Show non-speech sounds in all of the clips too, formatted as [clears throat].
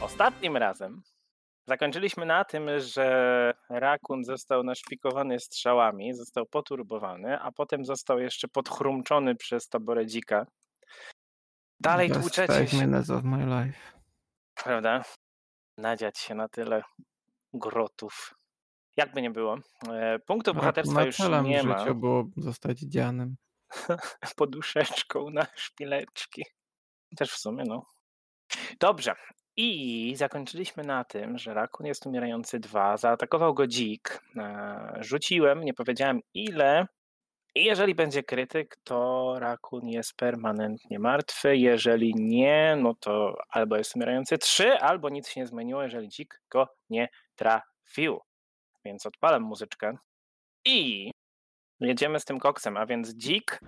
Ostatnim razem zakończyliśmy na tym, że rakun został naszpikowany strzałami, został poturbowany, a potem został jeszcze podchrumczony przez taborę dzika. Dalej Just tłuczecie five się, minutes of my life. prawda? Nadziać się na tyle grotów. Jakby nie było. e, Punktu bohaterstwa Na już celem nie w ma. życiu było zostać [laughs] dzianem. [laughs] poduszeczką na szpileczki. Też w sumie, no. Dobrze. I zakończyliśmy na tym, że rakun jest umierający dwa. Zaatakował go dzik. e, Rzuciłem, nie powiedziałem ile. I jeżeli będzie krytyk, to rakun jest permanentnie martwy. Jeżeli nie, no to albo jest umierający trzy, albo nic się nie zmieniło, jeżeli dzik go nie trafił. Więc odpalam muzyczkę. I jedziemy z tym koksem, a więc dzik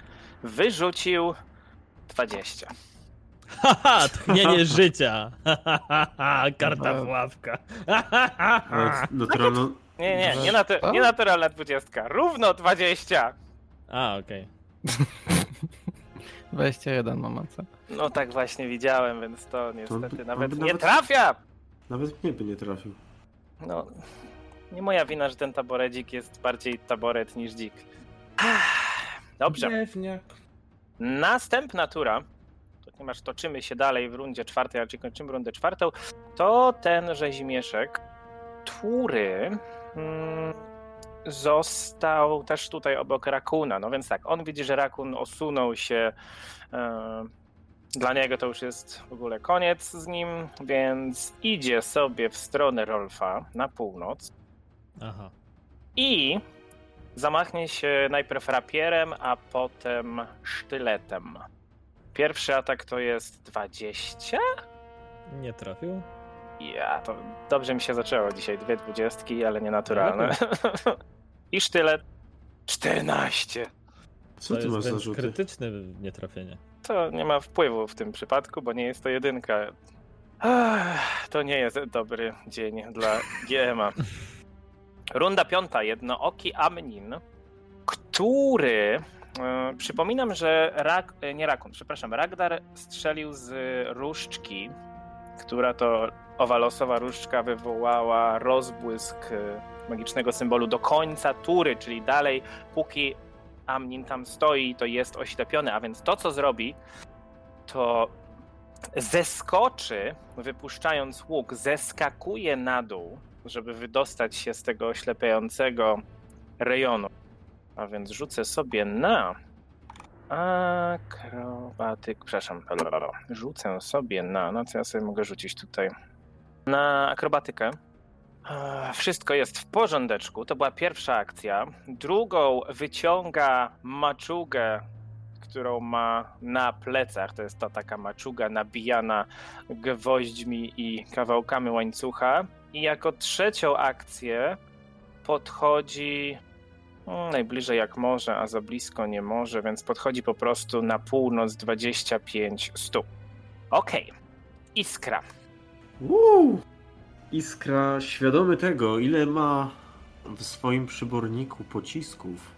wyrzucił 20. Haha, tchnienie życia. [laughs] Hahaha, Karta w ławka. Ale naturalno... Nie, nie, nie, Że- natu- co? nie naturalna 20. Równo 20. A, okej. 21 mamaca. [laughs] No tak właśnie widziałem, więc to niestety by- to nawet by nie nawet- trafia. Nawet mnie by nie trafił. No, nie moja wina, że ten taboredzik jest bardziej taboret niż dzik. Ach, Dobrze. Pewnie. Następna tura, ponieważ toczymy się dalej w rundzie czwartej, raczej kończymy rundę czwartą, to ten rzezimieszek, który mm, został też tutaj obok Rakuna. No więc tak, on widzi, że Rakun osunął się. e, Dla niego to już jest w ogóle koniec z nim, więc idzie sobie w stronę Rolfa na północ Aha. i zamachnie się najpierw rapierem, a potem sztyletem. Pierwszy atak to jest 20. Nie trafił? Ja, to dobrze mi się zaczęło dzisiaj. Dwie dwudziestki, ale nienaturalne. [laughs] I sztylet 14. Co to ty masz jest za wręcz rzuty? krytyczne nietrafienie. To nie ma wpływu w tym przypadku, bo nie jest to jedynka. Ach, To nie jest dobry dzień dla GMA. Runda piąta, jednooki Amnin, który. e, Przypominam, że rak, e, nie Rakun, przepraszam, Ragdar strzelił z różdżki, która to owalosowa różdżka wywołała rozbłysk e, magicznego symbolu do końca tury, czyli dalej, póki Amnin tam stoi, to jest oślepiony, a więc to, co zrobi, to zeskoczy, wypuszczając łuk, zeskakuje na dół, żeby wydostać się z tego oślepiającego rejonu. A więc rzucę sobie na akrobatyk, przepraszam, blablabla. rzucę sobie na, no co ja sobie mogę rzucić tutaj, na akrobatykę. Eee, Wszystko jest w porządeczku, to była pierwsza akcja. Drugą wyciąga maczugę, którą ma na plecach. To jest ta taka maczuga nabijana gwoźdźmi i kawałkami łańcucha. I jako trzecią akcję podchodzi mm, najbliżej jak może, a za blisko nie może, więc podchodzi po prostu na północ 25 stóp. Okej, iskra. Uuu! Iskra, świadomy tego, ile ma w swoim przyborniku pocisków.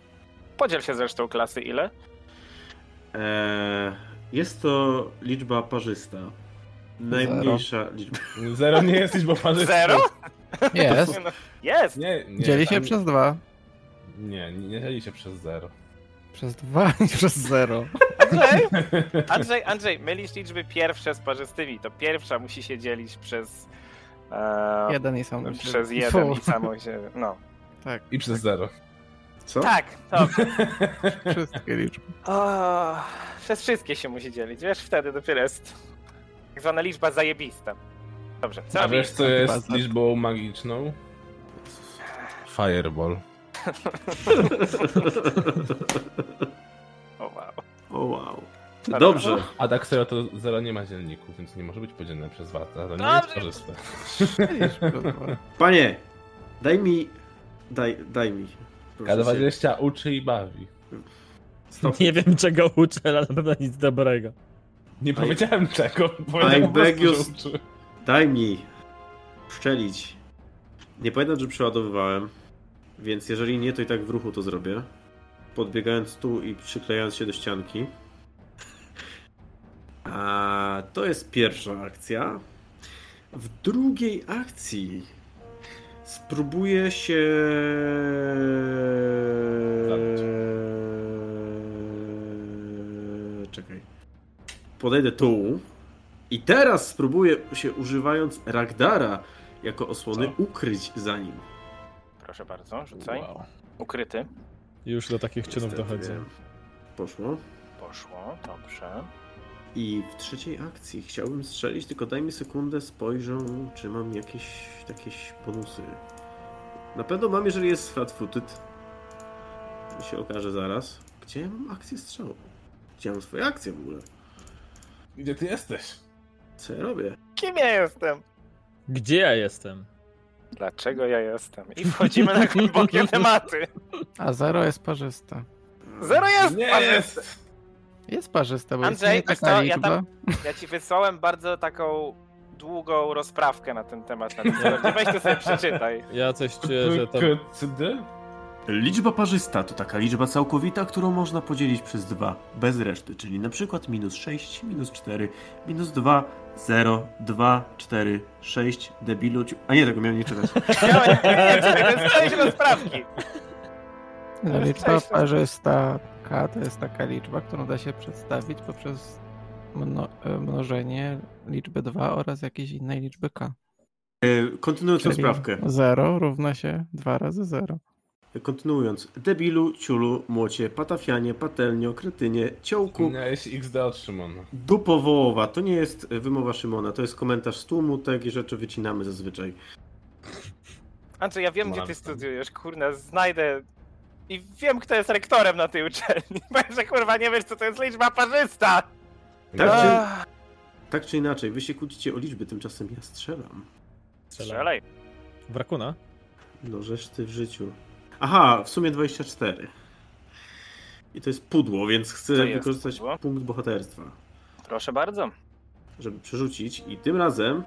Podziel się zresztą klasy ile? Eee, jest to liczba parzysta. Najmniejsza liczba. Zero nie jesteś, bo pan jest... Zero? Jest. no, Jest! Nie, nie. Dzieli się tam- przez dwa. Nie, nie, nie dzieli się przez zero. Przez dwa, [laughs] nie przez zero. Andrzej, Andrzej, Andrzej, mylisz liczby pierwsze z parzystymi. To pierwsza musi się dzielić przez. E, Jeden i sam. przez jeden i Fu, samą się. No. [laughs] Tak, I przez zero. No. Co? Tak, dobrze. wszystkie liczby. [laughs] O, przez wszystkie się musi dzielić. Wiesz, wtedy dopiero jest. Tak zwana liczba zajebista. Dobrze, co A robisz? wiesz, co jest liczbą magiczną? Fireball. O, wow. O wow. Dobra. Dobrze. A tak serio to zero nie ma dzielników, więc nie może być podzielone przez dwa. To nie Dobrze. jest korzystne. Dzielisz przez dwa. Panie, daj mi. Daj, daj mi. Proszę cię. K20 uczy i bawi. Stop. Nie wiem [laughs] czego uczę, ale na pewno nic dobrego. Nie powiedziałem tego, powiedziałem po beg prostu, że you- uczy. Daj mi szczelić. Nie pamiętam, że przeładowywałem, więc jeżeli nie, to i tak w ruchu to zrobię. Podbiegając tu i przyklejając się do ścianki. A to jest pierwsza akcja. w drugiej akcji spróbuję się. Zabić. Czekaj. Podejdę tu. I teraz spróbuję się używając Ragdara jako osłony Co? ukryć za nim. Proszę bardzo, rzucaj. Ukryty. Już do takich czynów Niestety. dochodzi. Poszło. Poszło, dobrze. I w trzeciej akcji chciałbym strzelić, tylko daj mi sekundę, spojrzę, czy mam jakieś, jakieś bonusy. Na pewno mam, jeżeli jest flat-footed. To się okaże zaraz. Gdzie ja mam akcję strzału? Gdzie ja mam swoje akcje w ogóle? Gdzie ty jesteś? Co ja robię? Kim ja jestem? Gdzie ja jestem? Dlaczego ja jestem? I wchodzimy na głębokie tematy. A zero jest parzysta. Zero jest! Nie ale- jest! Jest parzysta, bo Andrzej, jest wiesz taka co, ja liczba. tam- Ja ci wysłałem bardzo taką długą rozprawkę na ten temat. Na ten temat. Weź to sobie przeczytaj. Ja coś czuję, że to... K- CD? Liczba parzysta to taka liczba całkowita, którą można podzielić przez 2, bez reszty, czyli na przykład minus 6, minus 4, minus 2, 0, 2, 4, 6, debiluciu... A nie, tego miałem nie czytać. Miałeś- nie, czekaj, to jest część rozprawki. No, liczba Cześć. parzysta K to jest taka liczba, którą da się przedstawić poprzez mno, e, mnożenie liczby 2 oraz jakiejś innej liczby K. E, Kontynuując Czyli rozprawkę. 0 równa się 2 razy 0. Kontynuując. Debilu, ciulu, młocie, patafianie, patelnio, kretynie, ciołku, Miałeś XD od Szymona. dupowołowa. To nie jest e, wymowa Szymona, to jest komentarz z tłumu, takie rzeczy wycinamy zazwyczaj. Andrzej, ja wiem, gdzie ty Mam tam. studiujesz, kurna, znajdę i wiem, kto jest rektorem na tej uczelni. [laughs] Powiem, że kurwa nie wiesz, co to jest liczba parzysta. No. Tak, Ej, czy- Ach, Tak czy inaczej, wy się kłócicie o liczby, tymczasem ja strzelam. Strzelaj. Brakuna? No żeż ty w życiu. Aha, w sumie 24. I to jest pudło, więc To chcę jest wykorzystać pudło. punkt bohaterstwa, Proszę bardzo. żeby przerzucić i tym razem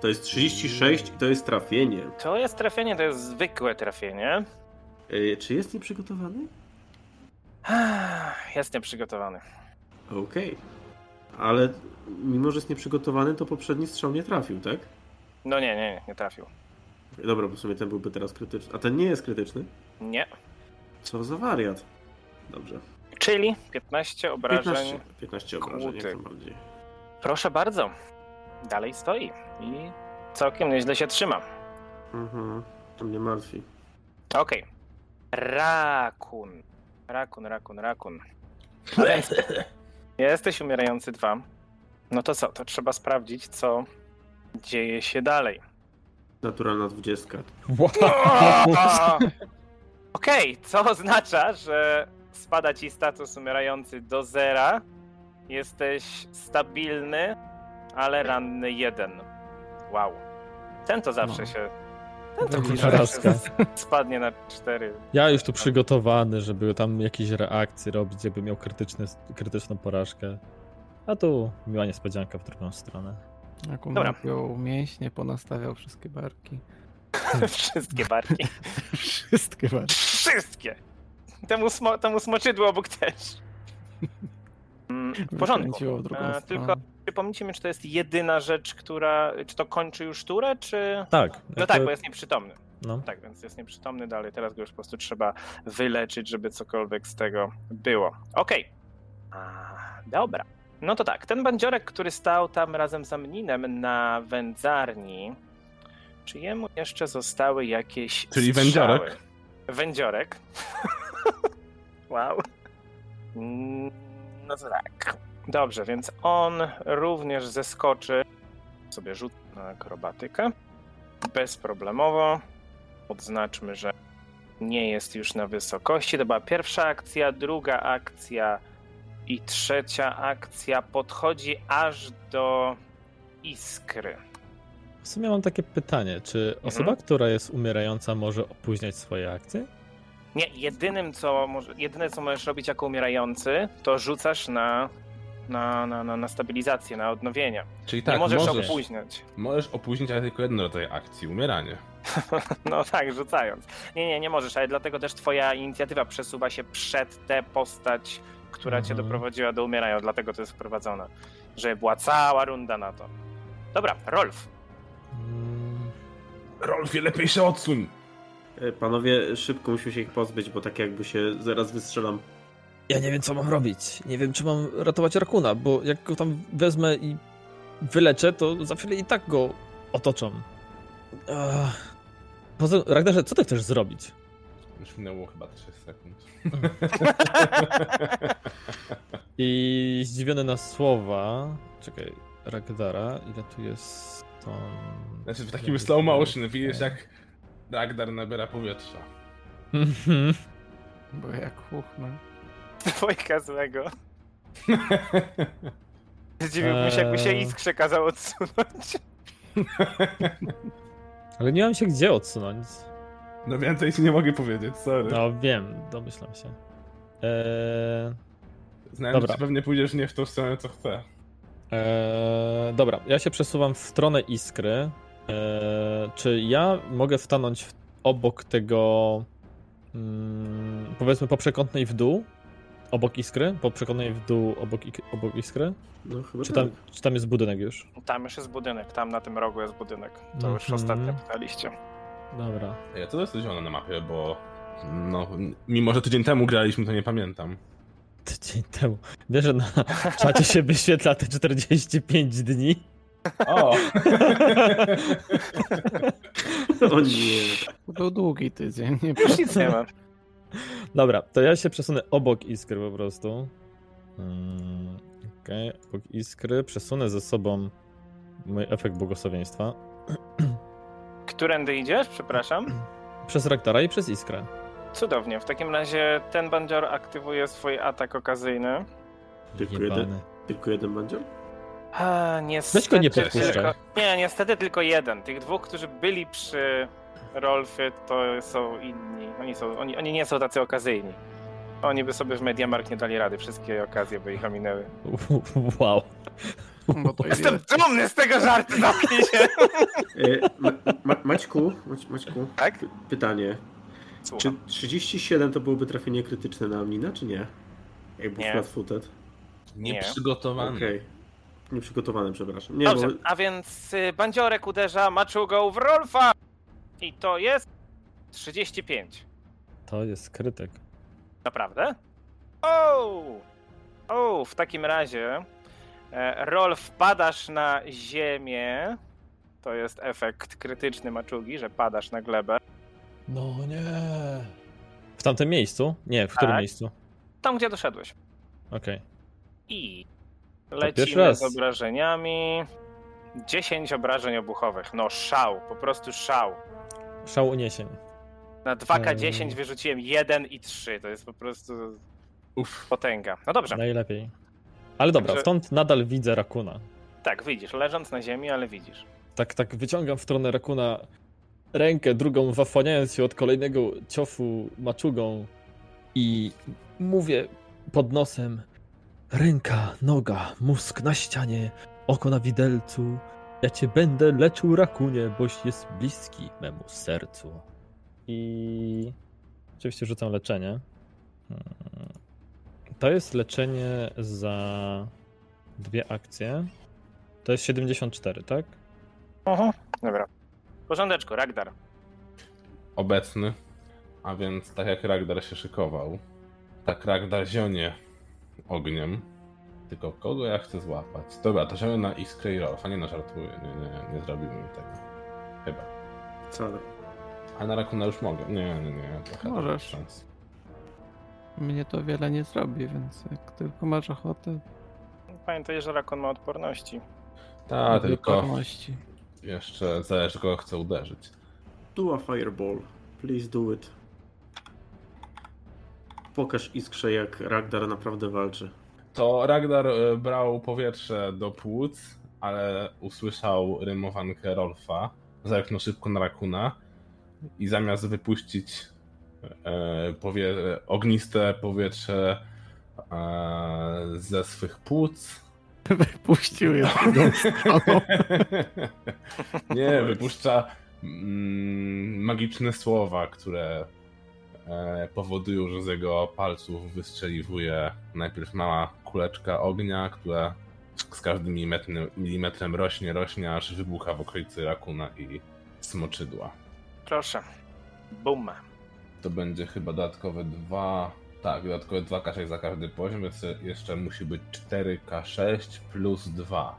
to jest 36 i to jest trafienie. To jest trafienie, to jest zwykłe trafienie. E, Czy jest nieprzygotowany? Ach, Jestem przygotowany. Okej. Ale mimo, że jest nieprzygotowany, to poprzedni strzał nie trafił, tak? No nie, nie, nie, nie trafił. Dobra, bo w sumie ten byłby teraz krytyczny. A ten nie jest krytyczny? Nie. Co za wariat. Dobrze. Czyli 15 obrażeń. 15, 15 obrażeń, jak Kłuty. najbardziej. Proszę bardzo. Dalej stoi i całkiem nieźle się trzyma. Mhm. To mnie martwi. Okej. Rakun. Rakun, rakun, rakun. Jesteś umierający dwa. No to co, to trzeba sprawdzić, co dzieje się dalej. Naturalna 20. [laughs] Okej, co oznacza, że spada ci status umierający do zera. Jesteś stabilny, ale ranny jeden. Wow. Ten to zawsze No. się. Ten to Wielka kurwa zawsze raska. s- spadnie na cztery. Ja już tu przygotowany, żeby tam jakieś reakcje robić, żeby miał krytyczny, krytyczną porażkę. A tu miła niespodzianka w drugą stronę. Jak Dobra. umawiał mięśnie, ponastawiał wszystkie barki. [laughs] Wszystkie barki. Wszystkie barki. Wszystkie! Temu, smo, temu smoczydło obok też. Mm, W porządku. Wykręciło w drugą E, stronę. tylko przypomnijcie mi, czy to jest jedyna rzecz, która. Czy to kończy już turę, czy. Tak. No jak tak, to- bo jest nieprzytomny. no. Tak, więc jest nieprzytomny dalej. Teraz go już po prostu trzeba wyleczyć, żeby cokolwiek z tego było. Okej. A, Dobra. No to tak, ten bandziorek, który stał tam razem z Amninem na wędzarni, czy jemu jeszcze zostały jakieś Czyli strzały? wędziorek? Wędziorek. [laughs] wow. Mm, No to tak. Dobrze, więc on również zeskoczy. Sobie rzut na akrobatykę. Bezproblemowo. Odznaczmy, że nie jest już na wysokości. To była pierwsza akcja, druga akcja i trzecia akcja. Podchodzi aż do iskry. W sumie mam takie pytanie, czy osoba, Mhm. która jest umierająca może opóźniać swoje akcje? Nie, jedynym co, może- jedyne co możesz robić jako umierający, to rzucasz na, na, na, na, na stabilizację, na odnowienie. Czyli tak, nie możesz, możesz, opóźniać. [laughs] możesz opóźnić, ale tylko jedno rodzaj akcji, umieranie. No tak, rzucając. Nie, nie, nie możesz, ale dlatego też twoja inicjatywa przesuwa się przed tę postać, która cię Mhm. doprowadziła do umierania, dlatego to jest wprowadzone. Że była cała runda na to. Dobra, Rolf. [laughs] Mm, Rolfie, lepiej się odsuń! E, Panowie, szybko musimy się ich pozbyć, bo tak jakby się zaraz wystrzelam. Ja nie wiem, co mam robić. Nie wiem, czy mam ratować Arkuna, bo jak go tam wezmę i wyleczę, to za chwilę i tak go otoczą. Ach. Poza tym, Ragnarze, co ty chcesz zrobić? Już minęło chyba 3 sekund. I zdziwiony na słowa. Czekaj, Ragdara, ile tu jest ton? Znaczy w takim slow motion widzisz jak Ragnar nabiera powietrza. [laughs] Mhm. Bo jak no. chuchnę. Dwojka złego. Zdziwiłbym się, jakby się Eee. iskrze kazał odsunąć. Ale nie mam się gdzie odsunąć. [laughs] No więcej ci nie mogę powiedzieć, sorry. No. No wiem, domyślam się. Eee, Znając, Dobra. że pewnie pójdziesz nie w tą stronę, co chcę. eee, dobra, ja się przesuwam w stronę iskry. Eee, czy ja mogę stanąć w, obok tego. Mm, powiedzmy po przekątnej w dół? Obok iskry? Po przekątnej w dół obok, ik- obok iskry? No chyba Czy tam, tak. czy tam jest budynek już? Tam już jest budynek, tam na tym rogu jest budynek. To już Mhm. ostatnio pytaliście. Dobra. Ja to jest zielone na mapie, bo no, mimo że tydzień temu graliśmy, to nie pamiętam. Tydzień temu. Wiesz, że na czacie się wyświetla te 45 dni. O! O nie. To był długi tydzień, nie Już nic nie ma. Dobra, to ja się przesunę obok iskry po prostu. Mm, Okej, obok iskry. Przesunę ze sobą mój efekt błogosławieństwa. Którędy idziesz? Przepraszam. Przez rektara i przez iskrę. Cudownie. W takim razie ten bandzior aktywuje swój atak okazyjny. Tylko Jebany. [laughs] jeden? Tylko jeden będzie? A, niestety, Weź go nie podpuszczaj. tylko, nie, niestety tylko jeden. Tych dwóch, którzy byli przy Rolfie, to są inni. Oni, są, oni, oni nie są tacy okazyjni. Oni by sobie w Mediamark nie dali rady. Wszystkie okazje by ich ominęły. Wow. Bo to jest Jestem dumny z tego żartu, zamknij się! E, ma, ma, Maćku, Mać, Maćku, Tak? py- pytanie. Czy Słucham. 37 to byłoby trafienie krytyczne na Amina, czy nie? Jakby Nie. flat footed. Nieprzygotowany. Okej. Nieprzygotowany, przepraszam. Nie, Dobrze, bo a więc y, bandziorek uderza maczugą w Rolfa! I to jest 35. To jest krytyk. Naprawdę? O! O, w takim razie e, Rol wpadasz na ziemię. To jest efekt krytyczny maczugi, że padasz na glebę. No nie. W tamtym miejscu? Nie, w którym Tak. miejscu? Tam, gdzie doszedłeś. Okej. I pierwszy lecimy raz. z obrażeniami. 10 obrażeń obuchowych. No szał, po prostu szał. Szał uniesień. Na 2K10 Em. wyrzuciłem 1 i 3. To jest po prostu Uff. potęga. No dobrze, Najlepiej. Ale dobra, Także- stąd nadal widzę rakuna. tak, widzisz, leżąc na ziemi, ale widzisz. Tak, tak, wyciągam w stronę rakuna rękę, drugą wafłaniając się od kolejnego ciofu maczugą i mówię pod nosem ręka, noga, mózg na ścianie, oko na widelcu. Ja cię będę leczył rakunie, boś jest bliski memu sercu. I oczywiście rzucam leczenie. Hmm. To jest leczenie za dwie akcje. To jest 74, tak? Aha. Dobra. W porządeczku, Ragdar. Obecny. A więc tak jak Ragnar się szykował, tak Ragnar zionie ogniem. Tylko kogo ja chcę złapać? Dobra, to zionie na Iskrę i Rolfa. Nie no, żartuję. Nie, nie, nie zrobimy mi tego. Chyba. wcale. A na Rakuna już mogę. Nie, nie, nie. to chyba Możesz. bez szans. Mnie to wiele nie zrobi, więc jak tylko masz ochotę, Pamiętaj, że Rakon ma odporności. Ta, tylko wyporności. jeszcze zależy kogo chcę uderzyć. Do a fireball. Please do it. Pokaż iskrze, jak Ragdar naprawdę walczy. To Ragnar e, brał powietrze do płuc, ale usłyszał rymowankę Rolfa, zerknął szybko na Rakuna i zamiast wypuścić e, powie, ogniste powietrze e, ze swych płuc, Puścił je drugą stroną. [laughs] Nie, wypuszcza mm, magiczne słowa, które e, powodują, że z jego palców wystrzeliwuje najpierw mała kuleczka ognia, która z każdym milimetrem, milimetrem rośnie, rośnie, aż wybucha w okolicy rakuna i smoczydła. Proszę. Bum. To będzie chyba dodatkowe dwa. Tak, dodatkowe 2K6 za każdy poziom, więc jeszcze musi być 4K6 plus 2.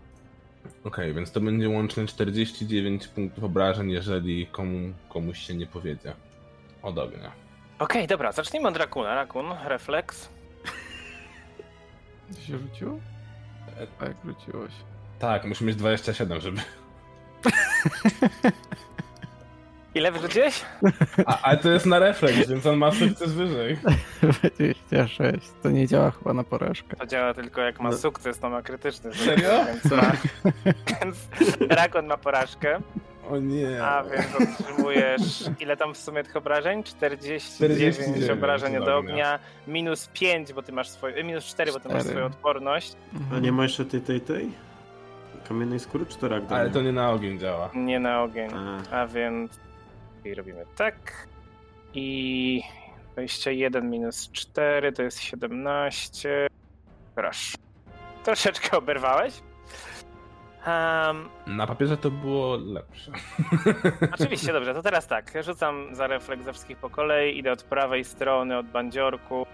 Okej, więc to będzie łącznie 49 punktów obrażeń, jeżeli komu, komuś się nie powiedzie. Od ognia. Okej, dobra, zacznijmy od rakuna. Rakun, refleks. Ty się rzuciło? E, Tak, rzuciło się. Tak, musimy mieć 27, żeby. Ile wyrzuciłeś? A, ale to jest na refleks, więc on ma sukces wyżej. 26. To nie działa chyba na porażkę. To działa tylko jak ma No. sukces, to ma krytyczny Serio? sukces. Więc, ma, [laughs] więc rakun ma porażkę, O nie. a więc otrzymujesz ile tam w sumie tych obrażeń? 49, 49 obrażeń od od ognia, ognia. minus 5, bo ty masz swoje, e, minus 4, bo ty masz Cztery. swoją odporność. Mhm. A nie ma jeszcze tej, tej, tej? Kamiennej skóry, czy to ragdoll? Ale to nie na ogień działa. Nie na ogień. A, A więc i robimy tak. I 21 minus 4 to jest 17. Proszę. Troszeczkę oberwałeś. Um, Na papierze to było lepsze. [laughs] oczywiście, dobrze, to teraz tak. Rzucam za refleks ze wszystkich po kolei. Idę od prawej strony, od bandziorku.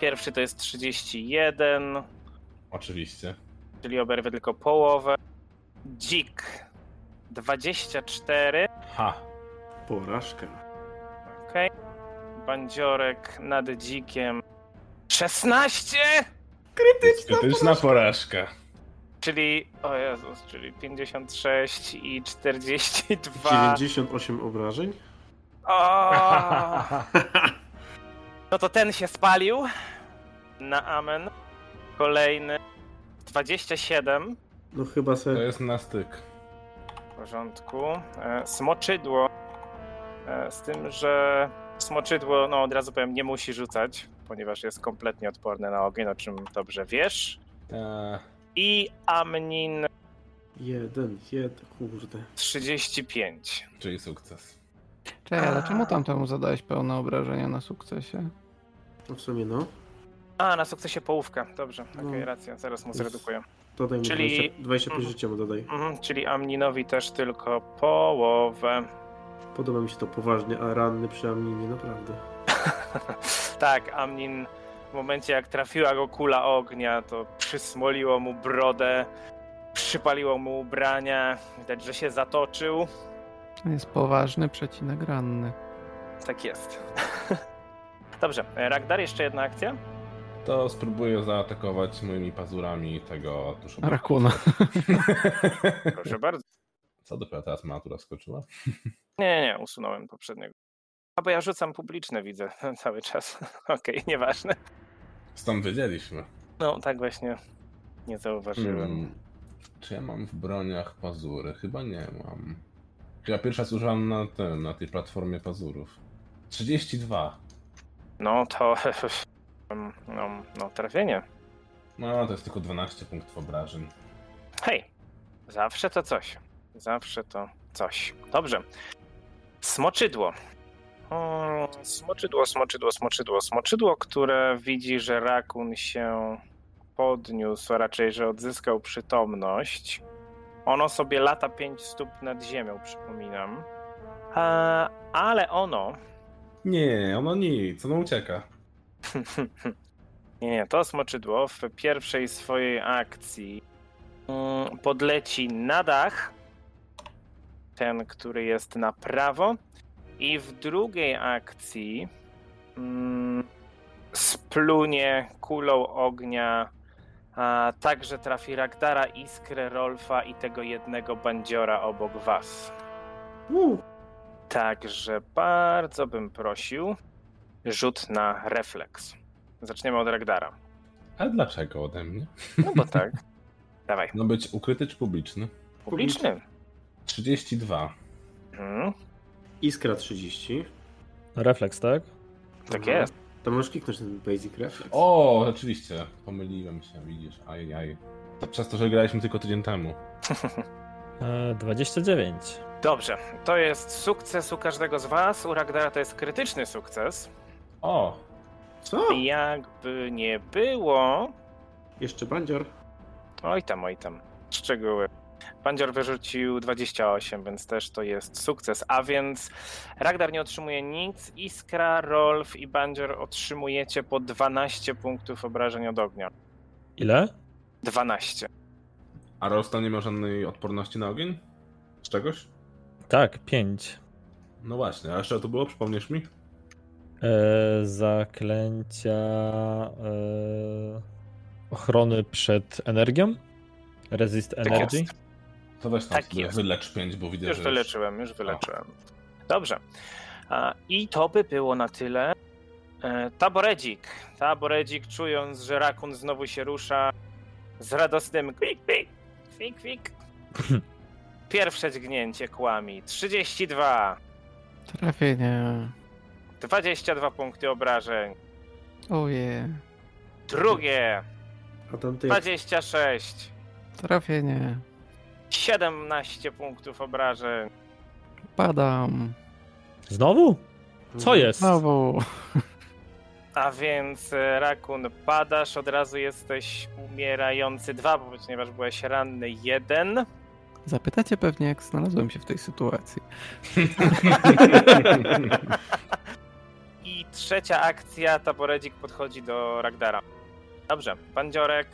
Pierwszy to jest 31, Oczywiście. czyli oberwę tylko połowę. Dzik 24. Ha. porażka. Okej. Bandziorek nad dzikiem. 16! Krytyczna porażka. Czyli. O Jezus, czyli 56 i 42. 98 obrażeń? [laughs] O! No to ten się spalił. Na amen. Kolejny. 27. No chyba To se... jest na styk. W porządku. E, Smoczydło. E, Z tym, że smoczydło, no od razu powiem, nie musi rzucać, ponieważ jest kompletnie odporne na ogień, o czym dobrze wiesz. Eee, I Amnin Jeden, jeden, kurde. 35. czyli sukces. Czekaj, ale czemu tamtemu zadałeś pełne obrażenia na sukcesie? No w sumie no. A, na sukcesie połówka. Dobrze, okej, No. racja, zaraz mu zredukuję. Dodaj mu Czyli- 20, 25 Mhm. życia mu dodaj. Mhm, czyli Amninowi też tylko połowę. Podoba mi się to poważnie, a ranny przynajmniej nie naprawdę. tak, Amnin w momencie jak trafiła go kula ognia, to przysmoliło mu brodę, przypaliło mu ubrania, widać, że się zatoczył. Jest poważny przecinek ranny. Tak jest. [laughs] Dobrze, e, Ragdar, jeszcze jedna akcja? To spróbuję zaatakować moimi pazurami tego tuż obok. Rakuna. Proszę bardzo. [laughs] Co dopiero teraz matura skoczyła? Nie, nie, usunąłem poprzedniego. A bo ja rzucam publiczne, widzę [laughs] cały czas. Okej, nieważne. Stąd wiedzieliśmy. No, tak właśnie nie zauważyłem. Hmm. Czy ja mam w broniach pazury? Chyba nie mam. Ja pierwsza służyłam na tym, na tej platformie pazurów. 32. No to. [laughs] em, No, no trafienie. No, to jest tylko 12 punktów obrażeń. Hej, zawsze to coś. Zawsze to coś. Dobrze. Smoczydło. O, Smoczydło, smoczydło, smoczydło, smoczydło, które widzi, że rakun się podniósł, a raczej, że odzyskał przytomność. Ono sobie lata 5 stóp nad ziemią, przypominam. A, ale ono Nie, ono nic, ono ucieka. Nie, nie, to smoczydło w pierwszej swojej akcji mm, podleci na dach, ten, który jest na prawo, i w drugiej akcji mm, splunie kulą ognia, a także trafi Ragdara, Iskrę, Rolfa i tego jednego bandziora obok was. Uuu, Także bardzo bym prosił rzut na refleks. Zaczniemy od Ragdara. A dlaczego ode mnie? No bo tak. Dawaj. No być ukryty czy publiczny? Publiczny. 32. Mhm, iskra 30. Refleks, tak? tak Aha. jest. Mhm. To możesz kliknąć ten basic reflex. O, rzeczywiście, pomyliłem się, widzisz, ajaj. To przez to, że graliśmy tylko tydzień temu. E, 29. Dobrze. To jest sukces u każdego z was. U Ragdara to jest krytyczny sukces. O, Co? Jakby nie było, Jeszcze bandzior. Oj tam, oj tam. Szczegóły. Bandzior wyrzucił 28, więc też to jest sukces. A więc Ragdar nie otrzymuje nic, Iskra, Rolf i Bandzior otrzymujecie po 12 punktów obrażeń od ognia. Ile? 12. A Rostan nie ma żadnej odporności na ogień? Z czegoś? Tak, pięć. No właśnie, a jeszcze to było, przypomniesz mi? E, zaklęcia e, ochrony przed energią. Resist energy. jest. To weź tam Tak sobie jest. wylecz 5, bo widzę, Już że... wyleczyłem, już wyleczyłem. Dobrze. A, I to by było na tyle. E, Taboredzik. Taboredzik, czując, że rakun znowu się rusza, z radosnym kwik, kwik, kwik, kwik. Pierwsze dźgnięcie kłami. 32. Trafienie. 22 punkty obrażeń. Oje. Drugie. A tamte jak 26. Trafienie. 17 punktów obrażeń. Padam. Znowu? Mhm. Co jest? Znowu. A więc e, Rakun, padasz, od razu jesteś umierający dwa, bo ponieważ byłeś ranny jeden. Zapytacie pewnie, jak znalazłem się w tej sytuacji. I trzecia akcja, taboredzik podchodzi do Ragdara. Dobrze, Pandziorek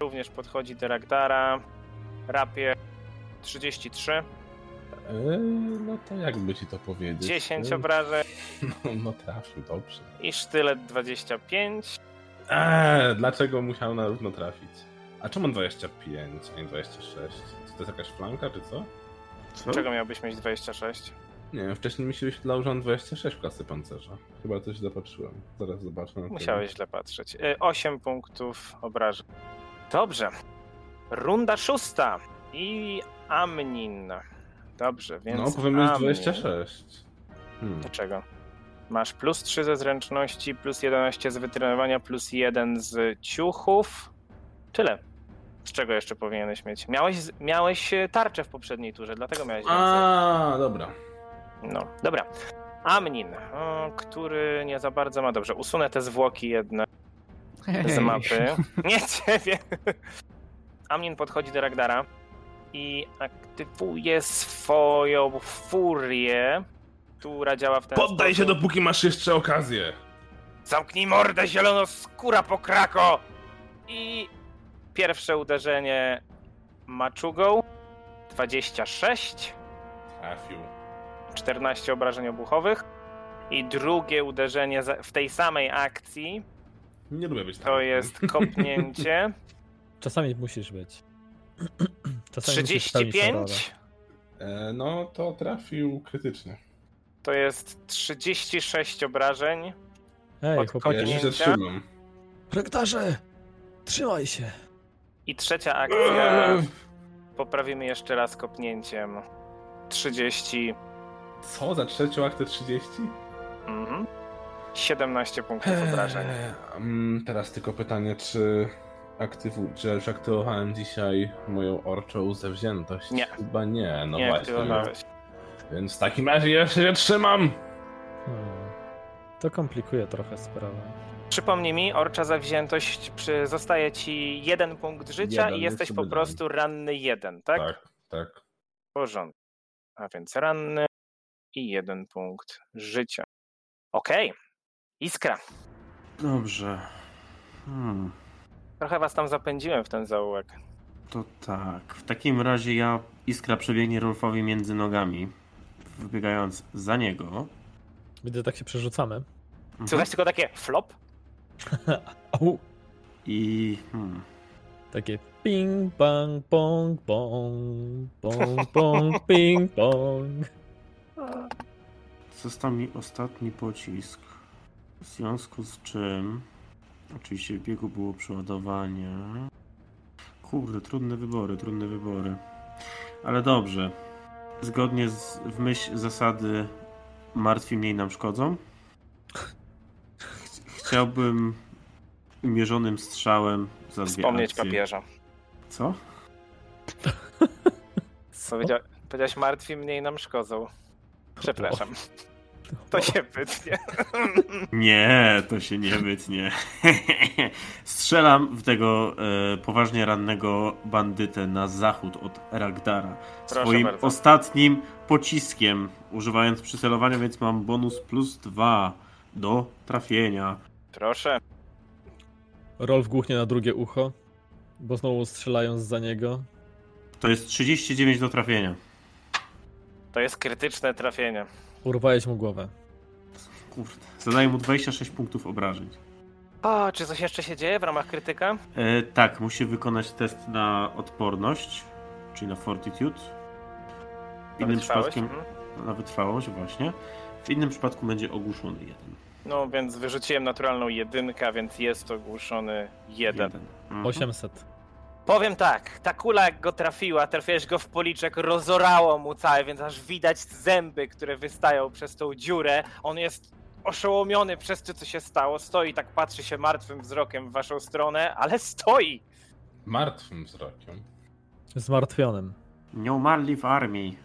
również podchodzi do Ragdara. Rapie 33, Yy, no to jakby ci to powiedzieć? 10 Yy, obrażeń [laughs] No, no trafił, dobrze. i sztylet 25. Eee, dlaczego musiał na równo trafić? A czemu 25, a nie 26? Czy to jest jakaś flanka, czy co? Co? Czego miałbyś mieć 26? Nie wiem, wcześniej mi się wyświetlało, że mam 26 w klasy pancerza. Chyba coś zapatrzyłem. Zaraz zobaczę. na Musiałeś źle patrzeć. 8 punktów obrażeń. Dobrze. Runda szósta. I Amnin. Dobrze, pewno. więc. No, powiem już Amnin. 26. Hmm. Dlaczego? Masz plus 3 ze zręczności, plus 11 z wytrenowania, plus 1 z ciuchów. Tyle. Z czego jeszcze powinieneś mieć? Miałeś, miałeś e, tarczę w poprzedniej turze, dlatego miałeś więcej. A, dobra. No, dobra. Amnin, o, który nie za bardzo ma. Dobrze, usunę te zwłoki jedne. z mapy. [laughs] Nie ciebie. Amnin podchodzi do Ragdara i aktywuje swoją furię, która działa w ten Poddaj się, sposób. dopóki masz jeszcze okazję! Zamknij mordę, zielono skóra pokrako! I pierwsze uderzenie maczugą. 26, Trafił. 14 obrażeń obuchowych. I drugie uderzenie za- w tej samej akcji Nie lubię być tam. to jest kopnięcie. Czasami musisz być. [clears throat] Czasami musisz spełnić tę rolę. 35. E, no, to trafił krytycznie. To jest 36 obrażeń. Ej, Pod Ja chłopaki. koniec. jeszcze trzymam. Rektarze! Trzymaj się! I trzecia akcja. Eee. Poprawimy jeszcze raz kopnięciem. 30. Co, za trzecią aktę 30? Mhm. 17 punktów obrażeń. Eee, mm, teraz tylko pytanie, czy, aktywu, czy ja już aktywowałem dzisiaj moją orczą zawziętość? Nie. Chyba nie, no Nie właśnie. aktywowałeś. Więc w takim razie ja się trzymam! Hmm. To komplikuje trochę sprawę. Przypomnij mi, orcza zawziętość przy... zostaje ci jeden punkt życia Jeden, i już jesteś sobie po dam. prostu ranny jeden, tak? tak. tak. W porządku. A więc ranny i jeden punkt życia. Okej. Iskra. Dobrze. Hmm, Trochę was tam zapędziłem w ten zaułek. to tak. W takim razie ja iskra przebiegnie Rolfowi między nogami, wybiegając za niego. Widzę, tak się przerzucamy. Mhm. Słychać tylko takie flop? Au! I hmm, Takie ping, bang, pong, pong, pong, pong, [laughs] ping, pong. został mi ostatni pocisk. W związku z czym. Oczywiście w biegu było przeładowanie. Kurde, trudne wybory, trudne wybory. Ale dobrze. Zgodnie z w myśl zasady martwi mniej nam szkodzą. Ch- chciałbym mierzonym strzałem za dwie Wspomnieć akcje. papieża. Co? Powiedzia... Powiedziałeś martwi mniej nam szkodzą. Przepraszam. To się pytnie. Nie, to się nie mytnie. [laughs] Strzelam w tego e, poważnie rannego bandytę na zachód od Ragdara. Proszę Swoim bardzo. ostatnim pociskiem, używając przycelowania, więc mam bonus plus dwa do trafienia. Proszę. Rolf głuchnie na drugie ucho, bo znowu strzelają za niego. To jest 39 do trafienia. To jest krytyczne trafienie. Urwałeś mu głowę. Mhm. Kurde. Zadaję mu 26 punktów obrażeń. O, czy coś jeszcze się dzieje w ramach krytyka? E, tak, musi wykonać test na odporność, czyli na fortitude. W innym Wytrwałeś? przypadkiem Mhm. na wytrwałość właśnie. W innym przypadku będzie ogłuszony jeden. No, więc wyrzuciłem naturalną jedynkę, więc jest ogłuszony jeden. Mhm. 800. Powiem tak, ta kula jak go trafiła, trafiłeś go w policzek, rozorało mu całe, więc aż widać zęby, które wystają przez tą dziurę. On jest oszołomiony przez to, co się stało. Stoi, tak patrzy się martwym wzrokiem w waszą stronę, ale stoi! Martwym wzrokiem. Zmartwionym. Nie umarli w armii.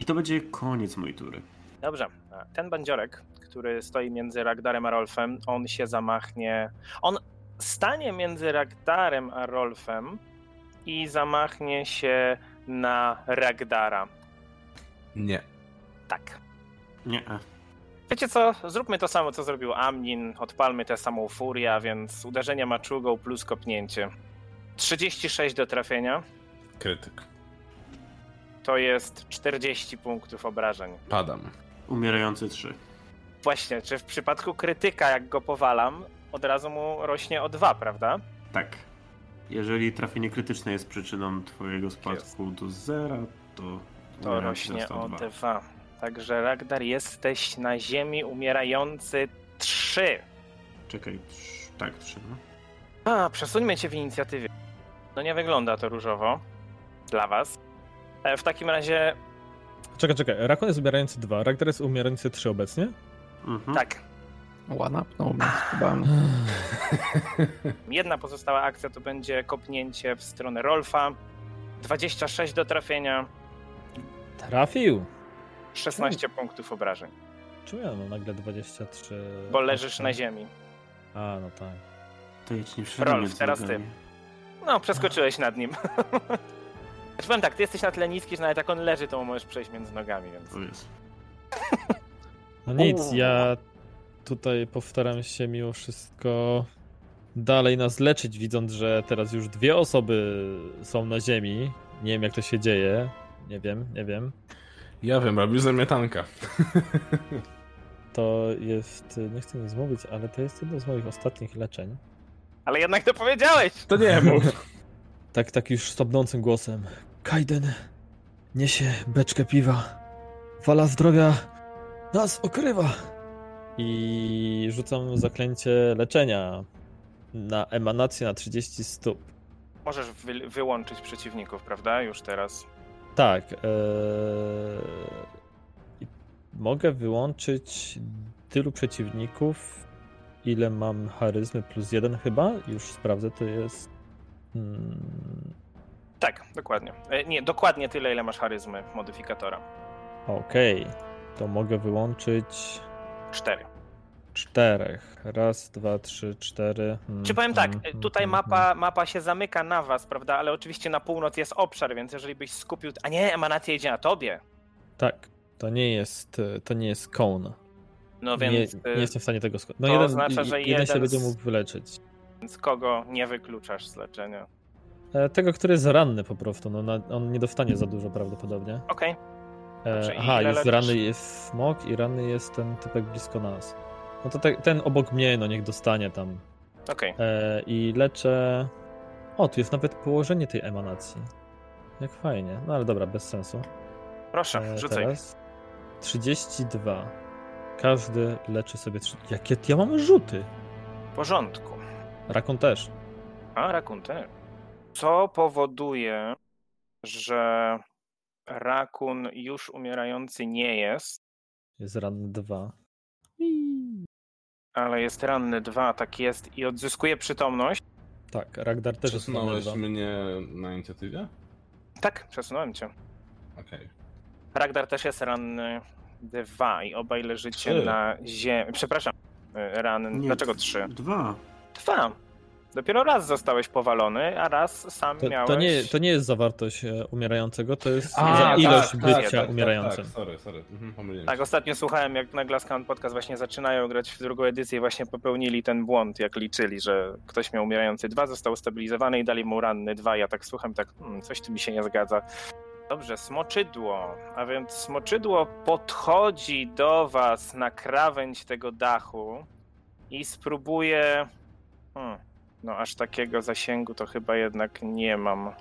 I to będzie koniec mojej tury. Dobrze, ten bandziorek, który stoi między Ragdarem a Rolfem, on się zamachnie. On stanie między Ragdarem a Rolfem i zamachnie się na Ragdara. Nie. Tak. Nie. e. Wiecie co, zróbmy to samo, co zrobił Amnin, odpalmy tę samą furię, a więc uderzenie maczugą plus kopnięcie. 36 do trafienia, Krytyk. to jest 40 punktów obrażeń. Padam. Umierający trzy. Właśnie, czy w przypadku krytyka, jak go powalam, od razu mu rośnie o 2, prawda? Tak. Jeżeli trafienie krytyczne jest przyczyną twojego spadku do zera, to... To umierający rośnie dostał o dwa. 2. Także Ragdar, jesteś na ziemi umierający 3. Czekaj, trz- tak, trzy. No. A, przesuńmy cię w inicjatywie. No nie wygląda to różowo. Dla was. E, W takim razie, Czekaj, czekaj. Rakun jest umierający 2, Ragdar jest umierający 3 obecnie? Mhm. tak, Łanapnął mnie z kubami. Jedna pozostała akcja to będzie kopnięcie w stronę Rolfa. 26 do trafienia, Trafił! 16 punktów obrażeń, Czemu ja mam nagle 23? bo leżysz na ziemi. A, no tak. To ja ci nie przerwę Rolf, między teraz ty. nogami. No, przeskoczyłeś nad nim. [laughs] Znaczy powiem tak, ty jesteś na tyle niski, że nawet jak tak on leży, to mu możesz przejść między nogami, więc... To jest. No nic, ja tutaj powtaram się mimo wszystko dalej nas leczyć, widząc, że teraz już dwie osoby są na ziemi. Nie wiem, jak to się dzieje. Nie wiem, nie wiem. Ja wiem, robisz zamiatanka. To jest, nie chcę nic mówić, ale to jest jedno z moich ostatnich leczeń. Ale jednak to powiedziałeś! To nie mów. Tak, tak już stopnącym głosem. Kaiden niesie beczkę piwa. Fala zdrowia nas okrywa. I rzucam zaklęcie leczenia na emanację na 30 stóp. Możesz wy- wyłączyć przeciwników, prawda? Już teraz. Tak. Yy... i Mogę wyłączyć tylu przeciwników, ile mam charyzmy plus jeden chyba. Już sprawdzę, to jest... Mm, Tak, dokładnie. E, nie, dokładnie tyle, ile masz charyzmy modyfikatora. Okej, to mogę wyłączyć 4. czterech. Raz, dwa, trzy, cztery. Hmm, Czy powiem tak, hmm, tutaj hmm, mapa, mapa się zamyka na was, prawda? Ale oczywiście na północ jest obszar, więc jeżeli byś skupił. A nie, emanacja idzie na tobie. hmm. Tak, to nie jest, y, to nie jest cone. No więc, nie, y, nie jestem w stanie tego sko- No to jeden, oznacza, i- że jeden się jeden będzie z- mógł wyleczyć. więc kogo nie wykluczasz z leczenia. E, Tego, który jest ranny po prostu, no, na, on nie dostanie za dużo prawdopodobnie. Okej, Dobrze, E, Znaczy, i aha, ile jest leczysz? ranny jest smog i ranny jest ten typek blisko nas. No to te, ten obok mnie, no niech dostanie tam. okej. E, I leczę. O, tu jest nawet położenie tej emanacji. Jak fajnie. No ale dobra, bez sensu. Proszę, E, rzucaj. Teraz 32. Każdy leczy sobie. Trzy... Jakie ja mam rzuty? W porządku. Rakon też. A, rakun też. Co powoduje, że rakun już umierający nie jest, Jest ranny 2. ale jest ranny dwa, tak jest, i odzyskuje przytomność? Tak, Ragdar też jest ranny Przesunąłeś 2. mnie na inicjatywie? Tak, przesunąłem cię. Okej. Ragdar też jest ranny dwa i obaj leżycie Trzy. na ziemi. Przepraszam, e, Ran, Nie, dlaczego d- trzy? Dwa. Dwa. Dopiero raz zostałeś powalony, a raz sam To, miałeś... to, nie, to nie jest zawartość e, umierającego, to jest A, za tak, ilość tak, bycia tak, tak, umierającym. Tak, sorry, sorry, mhm, pomyliłem Tak, się. ostatnio słuchałem, jak na Glasscan Podcast właśnie zaczynają grać w drugą edycję i właśnie popełnili ten błąd, jak liczyli, że ktoś miał umierający dwa, został stabilizowany i dali mu ranny dwa. Ja tak słucham, tak, hmm, coś tu mi się nie zgadza. Dobrze, smoczydło. A więc smoczydło podchodzi do was na krawędź tego dachu i spróbuje... Hmm, no aż takiego zasięgu to chyba jednak nie mam.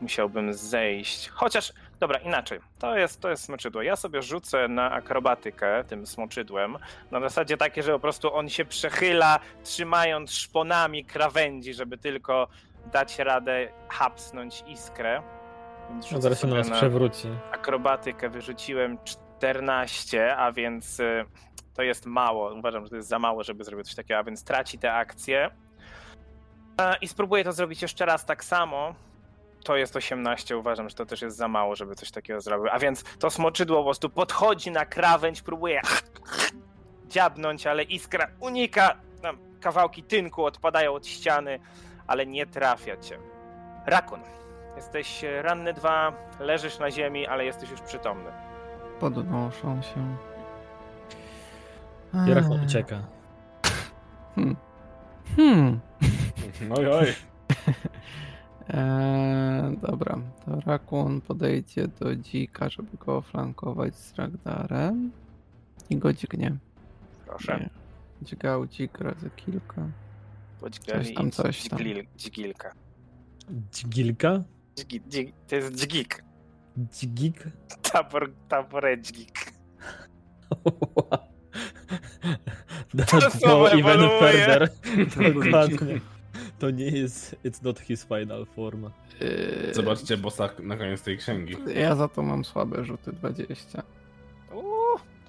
Musiałbym zejść. Chociaż Dobra, inaczej. To jest, to jest smoczydło. Ja sobie rzucę na akrobatykę tym smoczydłem. Na zasadzie takie, że po prostu on się przechyla, trzymając szponami krawędzi, żeby tylko dać radę hapsnąć iskrę. Więc No rzucę zaraz się na sobie nas przewróci. akrobatykę wyrzuciłem 14, a więc y, to jest mało. Uważam, że to jest za mało, żeby zrobić coś takiego, a więc traci te akcje. E, I spróbuję to zrobić jeszcze raz tak samo. To jest 18, uważam, że to też jest za mało, żeby coś takiego zrobił. A więc to smoczydło po prostu podchodzi na krawędź, próbuje dziabnąć, ale iskra unika. Tam kawałki tynku odpadają od ściany, ale nie trafia cię. Rakun. Jesteś e, ranny dwa, leżysz na ziemi, ale jesteś już przytomny. Podnoszą się. Jerachon ucieka. Hmm. [laughs] Oj, oj. Eee, dobra, to Rakun podejdzie do dzika, żeby go oflankować z Ragdarem i go dźgnie. Proszę. Nie. Dźgał dzik razy kilka. Podźgali Coś tam, i coś tam. dźgil- Dźgilka. Dźgilka? Dźgi, dźgi, to jest dźgik. [laughs] [laughs] Dźgik? Tabor, taboredźgik. That słowo no even ewoluuje. further. [laughs] Dokładnie. To nie jest, it's not his final form. Eee, Zobaczcie bossa na koniec tej księgi. Ja za to mam słabe rzuty 20. Uuu,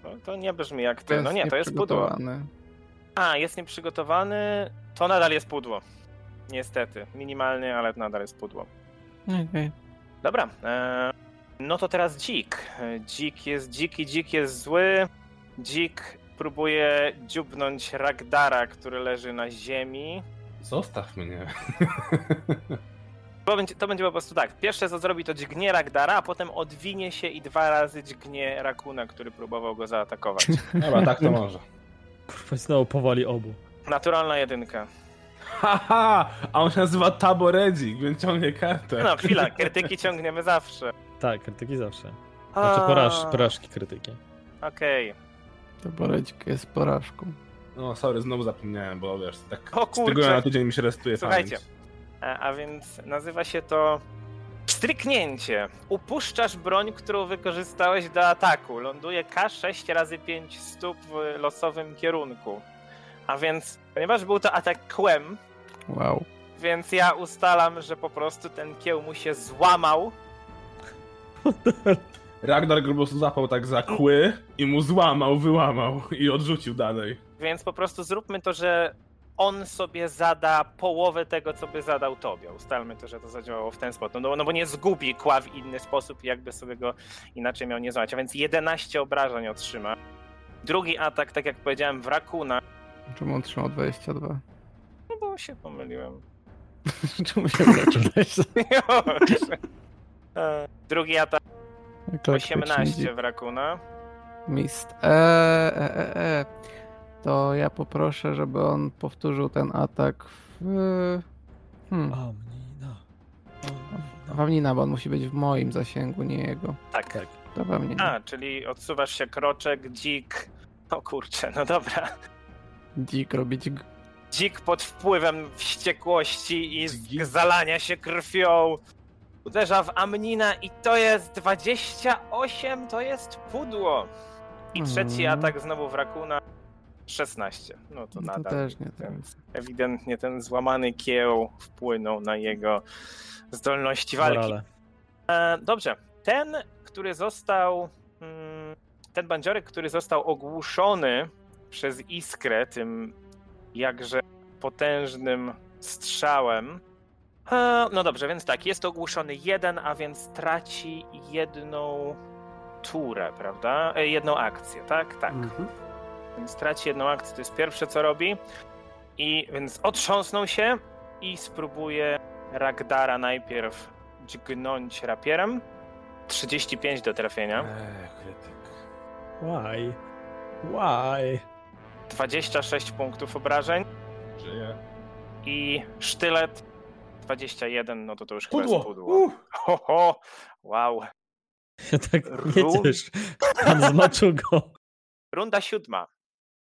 to, to nie brzmi jak ty. No nie, to jest pudło. nieprzygotowany. A, jest nieprzygotowany, to nadal jest pudło. Niestety. Minimalny, ale nadal jest pudło. Okej. Dobra. E, no to teraz dzik. E, Dzik jest dziki, dzik jest zły. Dzik próbuje dziubnąć Ragdara, który leży na ziemi. Zostaw mnie. To będzie, to będzie po prostu tak. Pierwsze co zrobi, to dźgnie Ragdara, a potem odwinie się i dwa razy dźgnie Rakuna, który próbował go zaatakować. Dobra, tak to może. Kurwa, znowu powoli obu. Naturalna jedynka. [laughs] Haha! A on się nazywa Taboredzik, więc ciągnie kartę. No chwila, krytyki ciągniemy zawsze. Tak, krytyki zawsze. Znaczy poraż, A, porażki krytyki. Okej. To Borecik jest porażką. No sorry, znowu zapomniałem, bo wiesz, tak O z tygodnia na kurczę. tydzień mi się restuje Słuchajcie. pamięć. A, a więc nazywa się to stryknięcie. Upuszczasz broń, którą wykorzystałeś do ataku. Ląduje K6 razy 5 stóp w losowym kierunku. A więc, ponieważ był to atak kłem, Wow. Więc ja ustalam, że po prostu ten kieł mu się złamał. Ragnar grubo zapał tak za kły i mu złamał, wyłamał i odrzucił dalej. Więc po prostu zróbmy to, że on sobie zada połowę tego, co by zadał tobie. Ustalmy to, że to zadziałało w ten sposób. No, no bo nie zgubi kła w inny sposób, jakby sobie go inaczej miał nie złamać. A więc 11 obrażeń otrzyma. Drugi atak, tak jak powiedziałem, w Rakuna. Czemu on trzymał 22? No bo się pomyliłem. [laughs] Czemu się zaczynać? Już. E, Drugi atak, Klasycznie 18 w Rakuna. Mist. E, e, e, e. To ja poproszę, żeby on powtórzył ten atak w. Hmm, Amnina. Wamnina, bo on musi być w moim zasięgu, nie jego. Tak. Tak. To Wamnina. A, czyli odsuwasz się kroczek, dzik. O kurczę, no dobra. Dzik robić. G... Dzik pod wpływem wściekłości i Dzik. zalania się krwią. Uderza w Amnina i to jest 28, to jest pudło. I trzeci Mhm. atak znowu w Rakuna. 16. No to No to nadal. też nie tak. Więc ewidentnie ten złamany kieł wpłynął na jego zdolności walki. Morale. E, dobrze. Ten, który został. mm, Ten bandziorek, który został ogłuszony przez iskrę tym jakże potężnym strzałem. E, no dobrze, więc tak, jest ogłuszony jeden, a więc traci jedną turę, prawda? E, Jedną akcję, tak? Tak. Mhm. Więc traci jedną akcję, to jest pierwsze co robi. I więc otrząsnął się i spróbuje Ragdara najpierw dźgnąć rapierem. 35 do trafienia. Eee, krytyk. Why? Why? 26 punktów obrażeń Żyje. i sztylet 21, no to to już chyba Pudło! jest pudło. Uh, Ho, ho, wow. Ja tak Ru- jedziesz. Pan z maczugą. Runda siódma.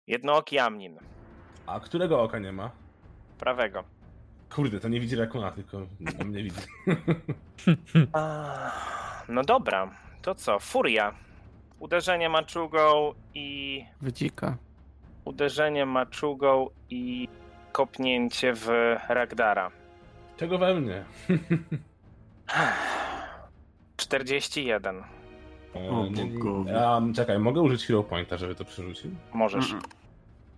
Jednooki Amnin, a którego oka nie ma? prawego. Kurde, to nie widzi Rakuna, tylko mnie widzi. Hmm. Ah, No dobra, to co? Furia. Uderzenie maczugą i Wydzika. uderzenie maczugą i kopnięcie w Ragdara. [sighs] Czego we mnie? 41. Eee, O nie- bogowie. A, no czekaj, mogę użyć Hero Pointa, żeby to przerzucił? Możesz. Mm.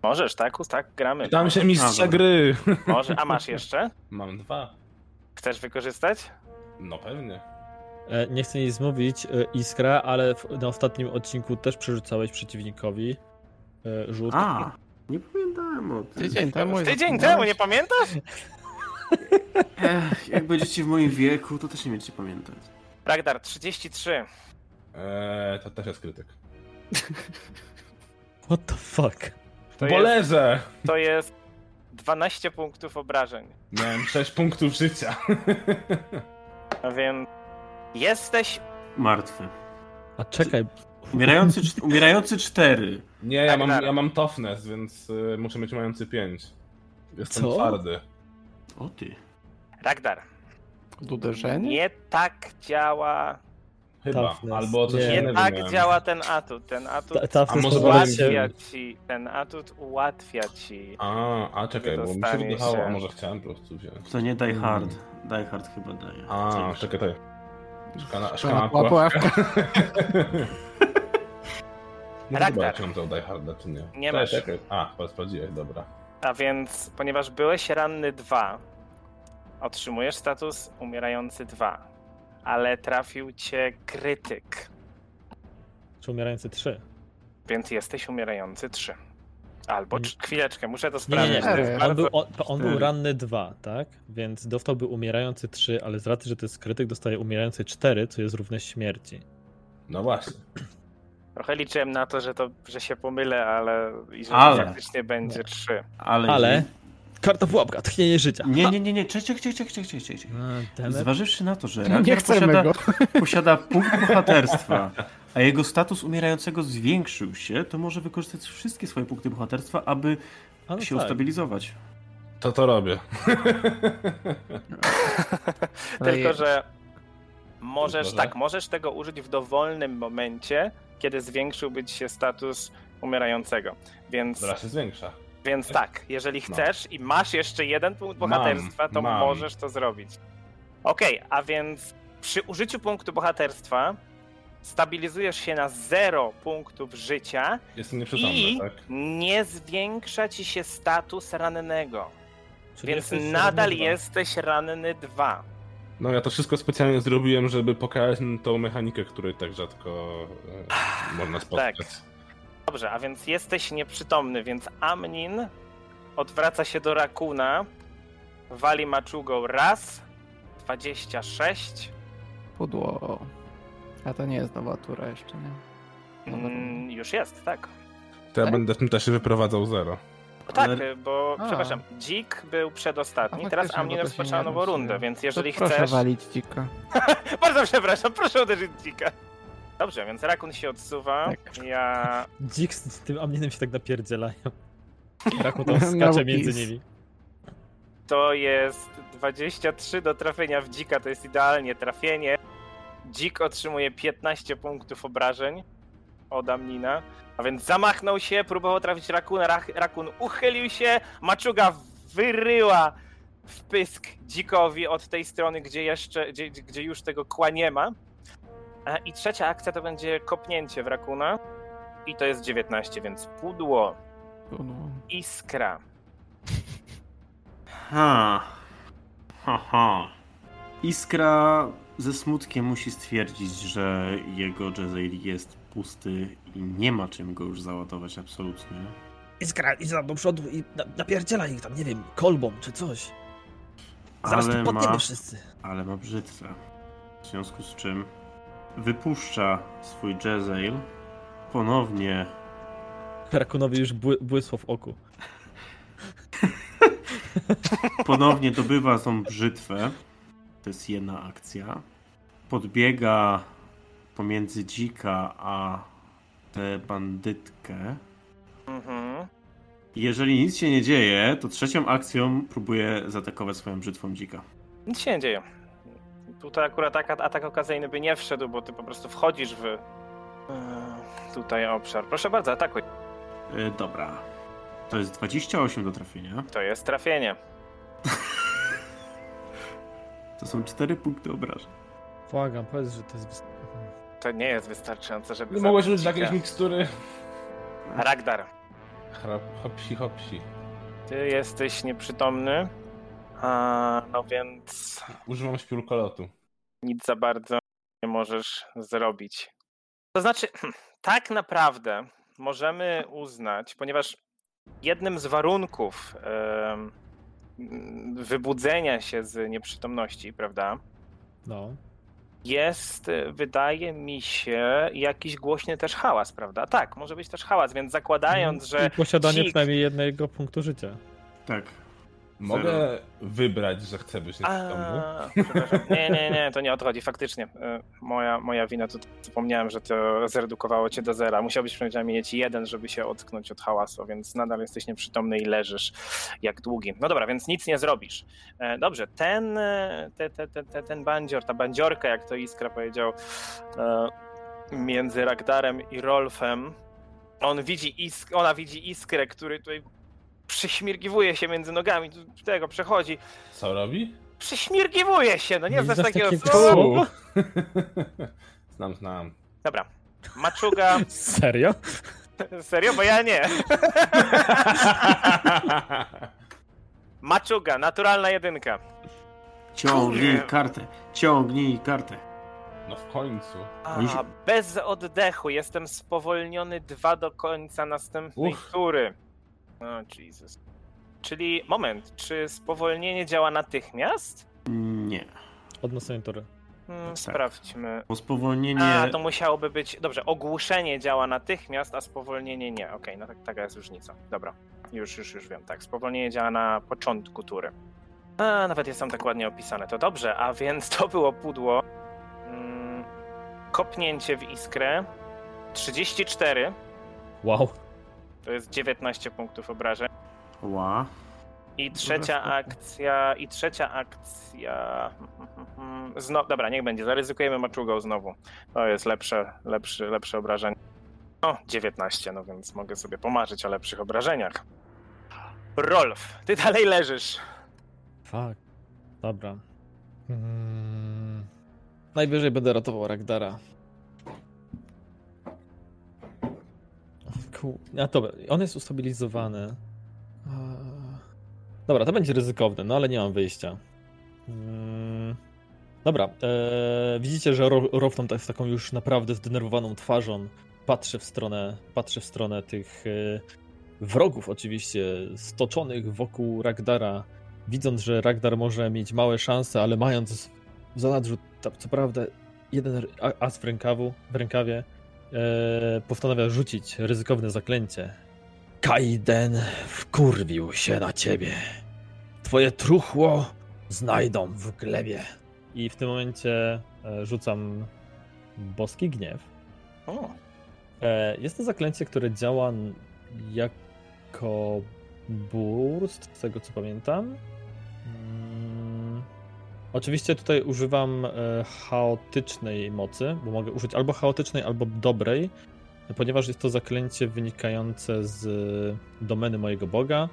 Możesz, tak? Us- Tak, gramy. Tam się mistrza A, dobra. gry! Może. A masz jeszcze? Mam dwa. Chcesz wykorzystać? No pewnie. E, Nie chcę nic mówić, e, Iskra, ale w, na ostatnim odcinku też przerzucałeś przeciwnikowi e, rzut. A, nie pamiętałem o tym. Tydzień temu. Tydzień zapomniałeś? temu, nie pamiętasz? Ech, jak będziecie w moim wieku, to też nie będziecie pamiętać. Ragdar, 33. Eee, to też jest krytyk. What the fuck? To Bo jest, leżę! to jest 12 punktów obrażeń. Miałem 6 [laughs] punktów życia. A więc jesteś Martwy. A czekaj, Umierający, cz- umierający cztery. Nie, ja Tak, mam, tak. ja mam toughness, więc y, muszę mieć mający 5. Jestem Co? twardy. O ty. Ragdar. Od uderzenia? Nie tak działa. Chyba. Toughness. Albo coś Nie. Nie innego tak miałem. działa ten atut. Ten atut ta, ta A może ułatwia powiem- ci. Ten atut ułatwia ci. A, a czekaj, Nie bo mi się dostanie wydawało, się. a może chciałem po prostu wziąć. To nie Die Hard. Die Hard chyba daje. A, Coś. czekaj, tutaj. Szkana, szkana Szkoła pułapka. pułapka. No Ragnar. dobra, czy mam to Die Harda, czy nie. Nie Cześć, masz. czekaj. A, chyba sprawdziłeś, dobra. A więc, ponieważ byłeś ranny 2, otrzymujesz status umierający 2. Ale trafił cię krytyk, Czy umierający trzy? więc jesteś umierający 3. Albo cz- chwileczkę, muszę to Nie, nie, sprawdzić. nie. to jest Cztery. On bardzo- był, on, to on był Cztery. ranny 2, tak? Więc dostałby umierający 3, ale z racji, że to jest krytyk, dostaje umierający 4, co jest równe śmierci. No właśnie. Trochę liczyłem na to, że, to, że się pomylę, ale i że Ale. to faktycznie będzie 3. Ale... Ale. Karta pułapka, tchnienie życia. Nie, nie, nie, nie. Czekaj, czekaj, czekaj, czekaj, czekaj. czekaj. No, Zwa... Zważywszy na to, że Nie Ragnar chcemy posiada, go. [laughs] posiada punkt bohaterstwa, a jego status umierającego zwiększył się, to może wykorzystać wszystkie swoje punkty bohaterstwa, aby A no się tak. ustabilizować. To to [laughs] robię. Ale Tylko, je- że możesz, Dobrze. tak, możesz tego użyć w dowolnym momencie, kiedy zwiększyłby ci się status umierającego. Więc, Dobra, się zwiększa. więc tak, jeżeli No. chcesz i masz jeszcze jeden punkt bohaterstwa, to mam. możesz to zrobić. Okej, a więc przy użyciu punktu bohaterstwa stabilizujesz się na 0 punktów życia Jestem nieprzytomny, i tak? nie zwiększa ci się status rannego. Czyli więc jesteś nadal ranny dwa. jesteś ranny 2. No ja to wszystko specjalnie zrobiłem, żeby pokazać tą mechanikę, której tak rzadko e, można spotkać. Tak. Dobrze, a więc jesteś nieprzytomny, więc Amnin odwraca się do Rakuna, wali maczugą raz, 26, Pudło. A to nie jest nowa tura jeszcze, nie? Nowa mm, już jest, tak. To ja Tak? będę w tym czasie wyprowadzał zero. O, tak, Ale- bo, A. przepraszam, dzik był przedostatni, A, teraz faktycznie, Amnin bo to się rozpoczęła nie nową rysuje. rundę, więc jeżeli to proszę chcesz... walić dzika. [laughs] Bardzo przepraszam, proszę uderzyć dzika. Dobrze, więc Rakun się odsuwa, Tak. ja... Dzik z tym amninem się tak [laughs] napierdzielają. Raku tam skacze Nauki jest. między nimi. To jest 23 do trafienia w dzika, to jest idealnie trafienie. Dzik otrzymuje 15 punktów obrażeń od Amnina, a więc zamachnął się, próbował trafić rakuna, rak, rakun uchylił się, maczuga wyryła w pysk dzikowi od tej strony, gdzie, jeszcze, gdzie, gdzie już tego kła nie ma. A I trzecia akcja to będzie kopnięcie w rakuna i to jest 19, więc pudło, Pudło. iskra. Ha. Ha, ha. Iskra ze smutkiem musi stwierdzić, że jego Jezail jest pusty i nie ma czym go już załadować absolutnie. Iskra, idź tam do przodu i na, napierdziela ich tam, nie wiem, kolbą czy coś. Zaraz Ale tu podniemy ma- wszyscy. ale ma brzytwę. W związku z czym wypuszcza swój Jezail, ponownie Rakunowi już bły, błysło w oku. ponownie dobywa tą brzytwę. To jest jedna akcja. Podbiega pomiędzy dzika a tę bandytkę. Mhm. Jeżeli nic się nie dzieje, to trzecią akcją próbuje zaatakować swoją brzytwą dzika. Nic się nie dzieje. Tutaj akurat atak, atak okazyjny by nie wszedł, bo ty po prostu wchodzisz w e, tutaj obszar. Proszę bardzo, atakuj. E, dobra. To jest 28 do trafienia. To jest trafienie. To są 4 punkty obrażeń. Błagam, powiedz, że to jest... wys- To nie jest wystarczające, żeby Nie No mogłeś zabić użyć jakiejś dzika. mikstury. Ragdar, Chrap, hopsi, hopsi. ty jesteś nieprzytomny. A, no więc Używam śpiulkolotu. nic za bardzo nie możesz zrobić. To znaczy, [clears throat] tak naprawdę możemy uznać, ponieważ jednym z warunków em, wybudzenia się z nieprzytomności, prawda, No. jest, e, wydaje mi się, jakiś głośny też hałas, prawda? Tak, może być też hałas, więc zakładając, że Mhm. I Posiadanie dzik- przynajmniej jednego punktu życia. [laughs] Tak. Mogę wybrać, że chcę być nieprzytomny. A, przepraszam. Nie, nie, nie, to nie o to chodzi, faktycznie. E, Moja, moja wina, to zapomniałem, że to zredukowało cię do zera. Musiałbyś przynajmniej mieć jeden, żeby się ocknąć od hałasu, więc nadal jesteś nieprzytomny i leżysz jak długi. No dobra, więc nic nie zrobisz. E, Dobrze, ten, e, te, te, te, te, ten bandzior, ta bandziorka, jak to Iskra powiedział, e, między Ragdarem i Rolfem, on widzi isk- ona widzi Iskrę, który tutaj przyśmirgiwuje się między nogami, tu- tego przechodzi Co robi? przyśmirgiwuje się, no nie, Nie znasz znasz takiego takiego słowa. słowa? [laughs] U. znam, [laughs] znam. Dobra. Maczuga, Serio? [laughs] serio, bo ja nie. Maczuga, naturalna jedynka. Ciągnij Kurde. kartę. Ciągnij kartę. No w końcu. A, Oj. bez oddechu, jestem spowolniony dwa do końca następnej Uff. tury. O, Jesus. Czyli, moment, czy spowolnienie działa natychmiast? Nie. Odnoszenie tory. Hmm, Tak. Sprawdźmy. Bo spowolnienie. A, to musiałoby być. Dobrze, ogłuszenie działa natychmiast, a spowolnienie nie. Okej, no tak, taka jest różnica. Dobra, już, już, już wiem. Tak, spowolnienie działa na początku tury. A, nawet jest tam tak ładnie opisane. To dobrze, a więc to było pudło. Mm, kopnięcie w iskrę. 34 Wow. to jest 19 punktów obrażeń. Ła. I trzecia akcja. I trzecia akcja. Zno... Dobra, niech będzie. Zaryzykujemy maczugą znowu. To jest lepsze, lepsze, lepsze obrażenie. No, 19, no więc mogę sobie pomarzyć o lepszych obrażeniach. Rolf, ty dalej leżysz. Fuck. Dobra. Mm. Najwyżej będę ratował Ragdara. Ku... A dobra, on jest ustabilizowany. A. Dobra, to będzie ryzykowne, no ale nie mam wyjścia. Mm. Dobra, e, widzicie, że Ro- Rolf tam tak z taką już naprawdę zdenerwowaną twarzą patrzy w stronę, patrzy w stronę tych e, wrogów oczywiście stoczonych wokół Ragdara widząc, że Ragnar może mieć małe szanse, ale mając w zanadrzu, ta- co prawda, jeden r- a- as w, rękawu, w rękawie, e, postanawia rzucić ryzykowne zaklęcie. Kaiden wkurwił się na ciebie. Twoje truchło znajdą w glebie. I w tym momencie e, rzucam boski gniew. O, E, Jest to zaklęcie, które działa n- jako burst, z tego co pamiętam. Mm, Oczywiście tutaj używam e, chaotycznej mocy, bo mogę użyć albo chaotycznej, albo dobrej, ponieważ jest to zaklęcie wynikające z e, domeny mojego boga.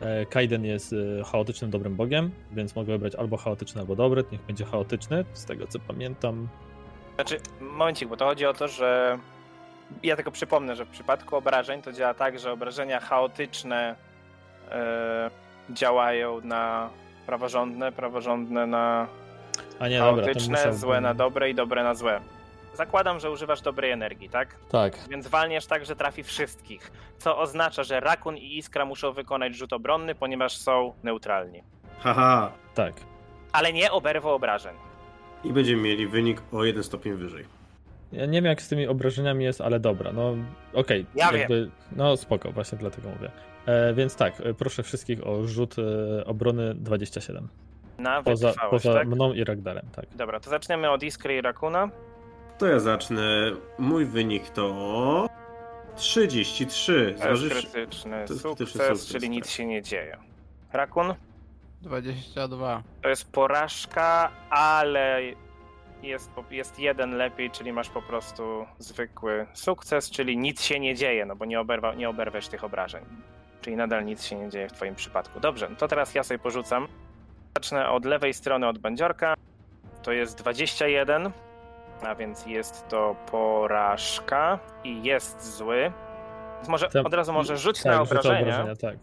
E, Kaiden jest e, chaotycznym, dobrym bogiem, więc mogę wybrać albo chaotyczny, albo dobry. Niech będzie chaotyczny, z tego co pamiętam. Znaczy, momencik, bo to chodzi o to, że. Ja tylko przypomnę, że w przypadku obrażeń to działa tak, że obrażenia chaotyczne e, działają na praworządne, praworządne na A nie, dobra, to Chaotyczne, musiał... złe na dobre i dobre na złe. Zakładam, że używasz dobrej energii, tak? Tak, Więc walniesz tak, że trafi wszystkich. Co oznacza, że Rakun i Iskra muszą wykonać rzut obronny, ponieważ są neutralni. Haha. tak. Ale nie oberwą obrażeń. I będziemy mieli wynik o jeden stopień wyżej. Ja nie wiem jak z tymi obrażeniami jest, ale dobra, no okej. Ja wiem. jakby- No spoko, właśnie dlatego mówię. E, więc tak, e, proszę wszystkich o rzut e, obrony 27. Na Poza, wytrwałość, poza tak? mną i Ragdarem, tak. Dobra, to zaczniemy od Iskry i Rakuna. To ja zacznę. Mój wynik to 33. To jest Zważysz... krytyczny to jest krytyczny sukces, sukces, czyli tak. nic się nie dzieje. Rakun? 22. To jest porażka, ale jest, po- jest jeden lepiej, czyli masz po prostu zwykły sukces, czyli nic się nie dzieje, no bo nie, oberwa, nie oberwiesz tych obrażeń. Czyli nadal nic się nie dzieje w twoim przypadku. Dobrze, no to teraz ja sobie porzucam. Zacznę od lewej strony, od będziorka. To jest 21, a więc jest to porażka i jest zły. Więc może Tam- od razu może rzuć tak, na rzucę obrażenia. tak.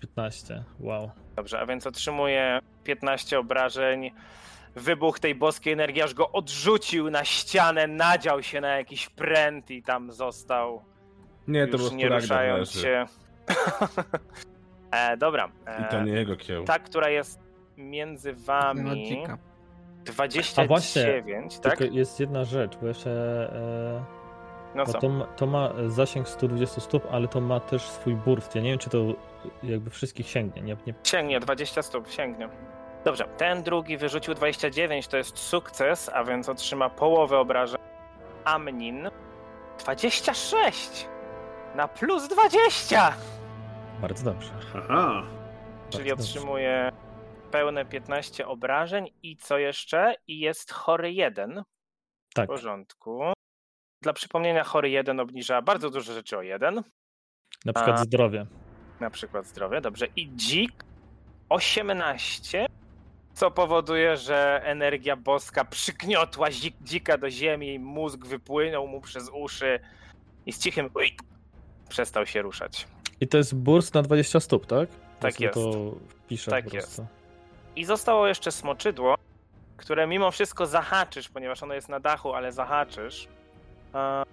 15, wow. Dobrze, a więc otrzymuje 15 obrażeń. Wybuch tej boskiej energii aż go odrzucił na ścianę, nadział się na jakiś pręt i tam został, Nie, to już po nie prostu Ragnar ruszając leży. się. [laughs] e, dobra. E, I to nie jego kieł. Ta, która jest między wami, Minocika. 29, tak? Tylko jest jedna rzecz, bo jeszcze... E, No bo co? to, ma- to ma zasięg 120 stóp, ale to ma też swój burft. Ja nie wiem, czy to jakby wszystkich sięgnie. Nie, nie... Sięgnie, 20 stóp, sięgnie. Dobrze, ten drugi wyrzucił 29, to jest sukces, a więc otrzyma połowę obrażeń. Amnin 26 na plus 20, Tak, Bardzo dobrze. Haha. czyli Bardzo dobrze. otrzymuje pełne 15 obrażeń i co jeszcze? I jest chory 1, w Tak, porządku. Dla przypomnienia, chory 1 obniża bardzo dużo rzeczy o 1, na przykład A. zdrowie. na przykład zdrowie, dobrze. I dzik 18, co powoduje, że energia boska przygniotła zik, dzika do ziemi, mózg wypłynął mu przez uszy i z cichym uj, przestał się ruszać. I to jest burst na 20 stóp, tak? Tak sobie jest. To piszę Tak po prostu. [laughs] I zostało jeszcze smoczydło, które mimo wszystko zahaczysz, ponieważ ono jest na dachu, ale zahaczysz. E, A,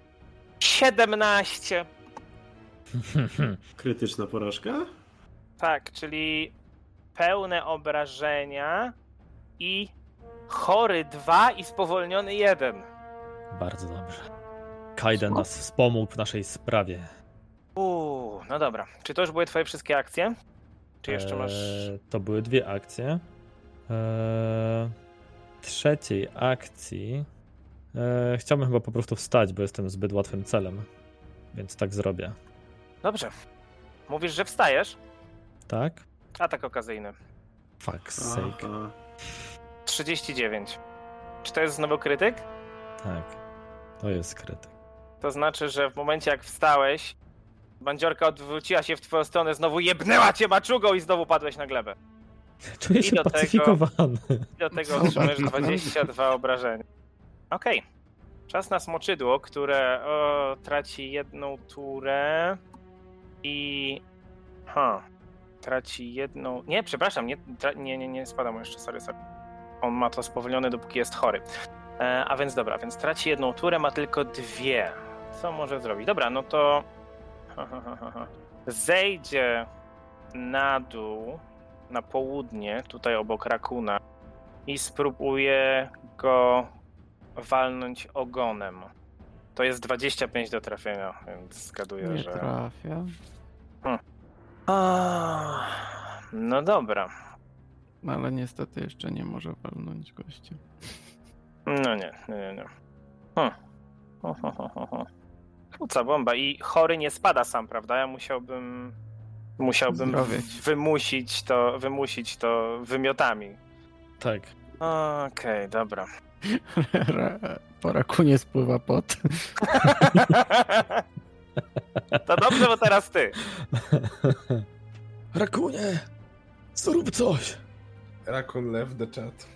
17! Krytyczna porażka? Tak, czyli pełne obrażenia i chory 2 i spowolniony 1. Bardzo dobrze. Kaiden nas wspomógł w naszej sprawie. Uuu, no dobra. Czy to już były twoje wszystkie akcje? Czy jeszcze masz... Eee, To były dwie akcje. Eee, trzeciej akcji eee, chciałbym chyba po prostu wstać, bo jestem zbyt łatwym celem. Więc tak zrobię. Dobrze. Mówisz, że wstajesz? Tak? Atak okazyjny. Fuck sake. Aha. 39. Czy to jest znowu krytyk? Tak. To jest krytyk. To znaczy, że w momencie jak wstałeś, bandziorka odwróciła się w twoją stronę, znowu jebnęła cię maczugą i znowu padłeś na glebę. Czuję I do się tego- pacyfikowany. Do tego otrzymujesz 22 obrażenia. Okej. Czas na smoczydło, które o, traci jedną turę i. Ha. Traci jedną. Nie, przepraszam, nie, tra... nie, nie, nie spada mu jeszcze, sorry, sorry. On ma to spowolnione, dopóki jest chory. E, a więc dobra, więc traci jedną turę, ma tylko dwie. Co może zrobić? Dobra, no to. [laughs] Ha, ha, ha, ha, ha. Zejdzie na dół, na południe, tutaj obok rakuna i spróbuję go walnąć ogonem. To jest 25 do trafienia, więc zgaduję, Nie że. trafia. A, No dobra. No, ale niestety jeszcze nie może walnąć gościa. [laughs] No nie, nie, nie. nie. Hm. Ho, ho, ho, ho, ho. Kuca bomba. I chory nie spada sam, prawda? Ja musiałbym. Musiałbym Zdrowieć. wymusić to, wymusić to wymiotami. Tak. Okej, dobra. Ra- Po rakunie spływa pot. To dobrze, bo teraz ty. Rakunie! Zrób [laughs] coś! Rakun lew the chat.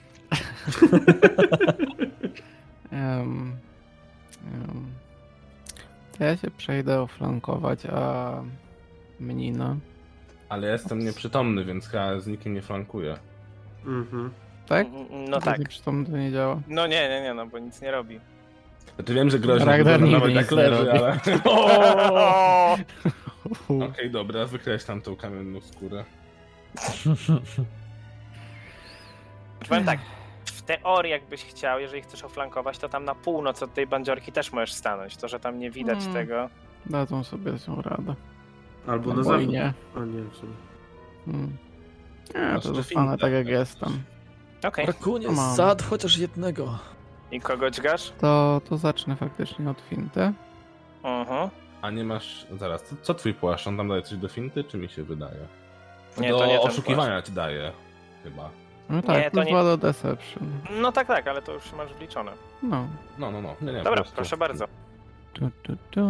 Em, em, to ja się przejdę oflankować, a no. Mnina. Ale ja jestem nieprzytomny, więc chyba z nikim nie flankuję. Mhm. tak? No tak. Przy to nie działa. No nie, nie, nie, no bo nic nie robi. Znaczy wiem, że groźnie Ragnar wygląda, nigdy nawet nic tak nie leży, [laughs] robi. ale... [laughs] O! No. Okej, dobra, wykreślam tą kamienną skórę. Znaczy, [laughs] Powiem tak, w teorii jakbyś chciał, jeżeli chcesz oflankować, to tam na północ od tej bandziorki też możesz stanąć. To, że tam nie widać Mm. tego. Dadzą sobie się radę. Albo No na bo i zachód. nie. A nie, w sumie. Hmm. Nie, Masz to do dostanę finta, tak jak tak. jestem. Okej, Rakunie, Mam. zad chociaż jednego. i kogo dźgasz? To, to zacznę faktycznie od finty. Mhm. A nie masz... Zaraz, co, co twój płaszcz? On tam daje coś do finty, czy mi się wydaje? Nie, do to nie ten oszukiwania ci daje, chyba. No tak, to plus nie- dwa do deception. No tak, tak, ale to już masz wliczone. No. No, no, no. Nie, nie, po Dobra, prostu. proszę bardzo. Tu, tu, tu.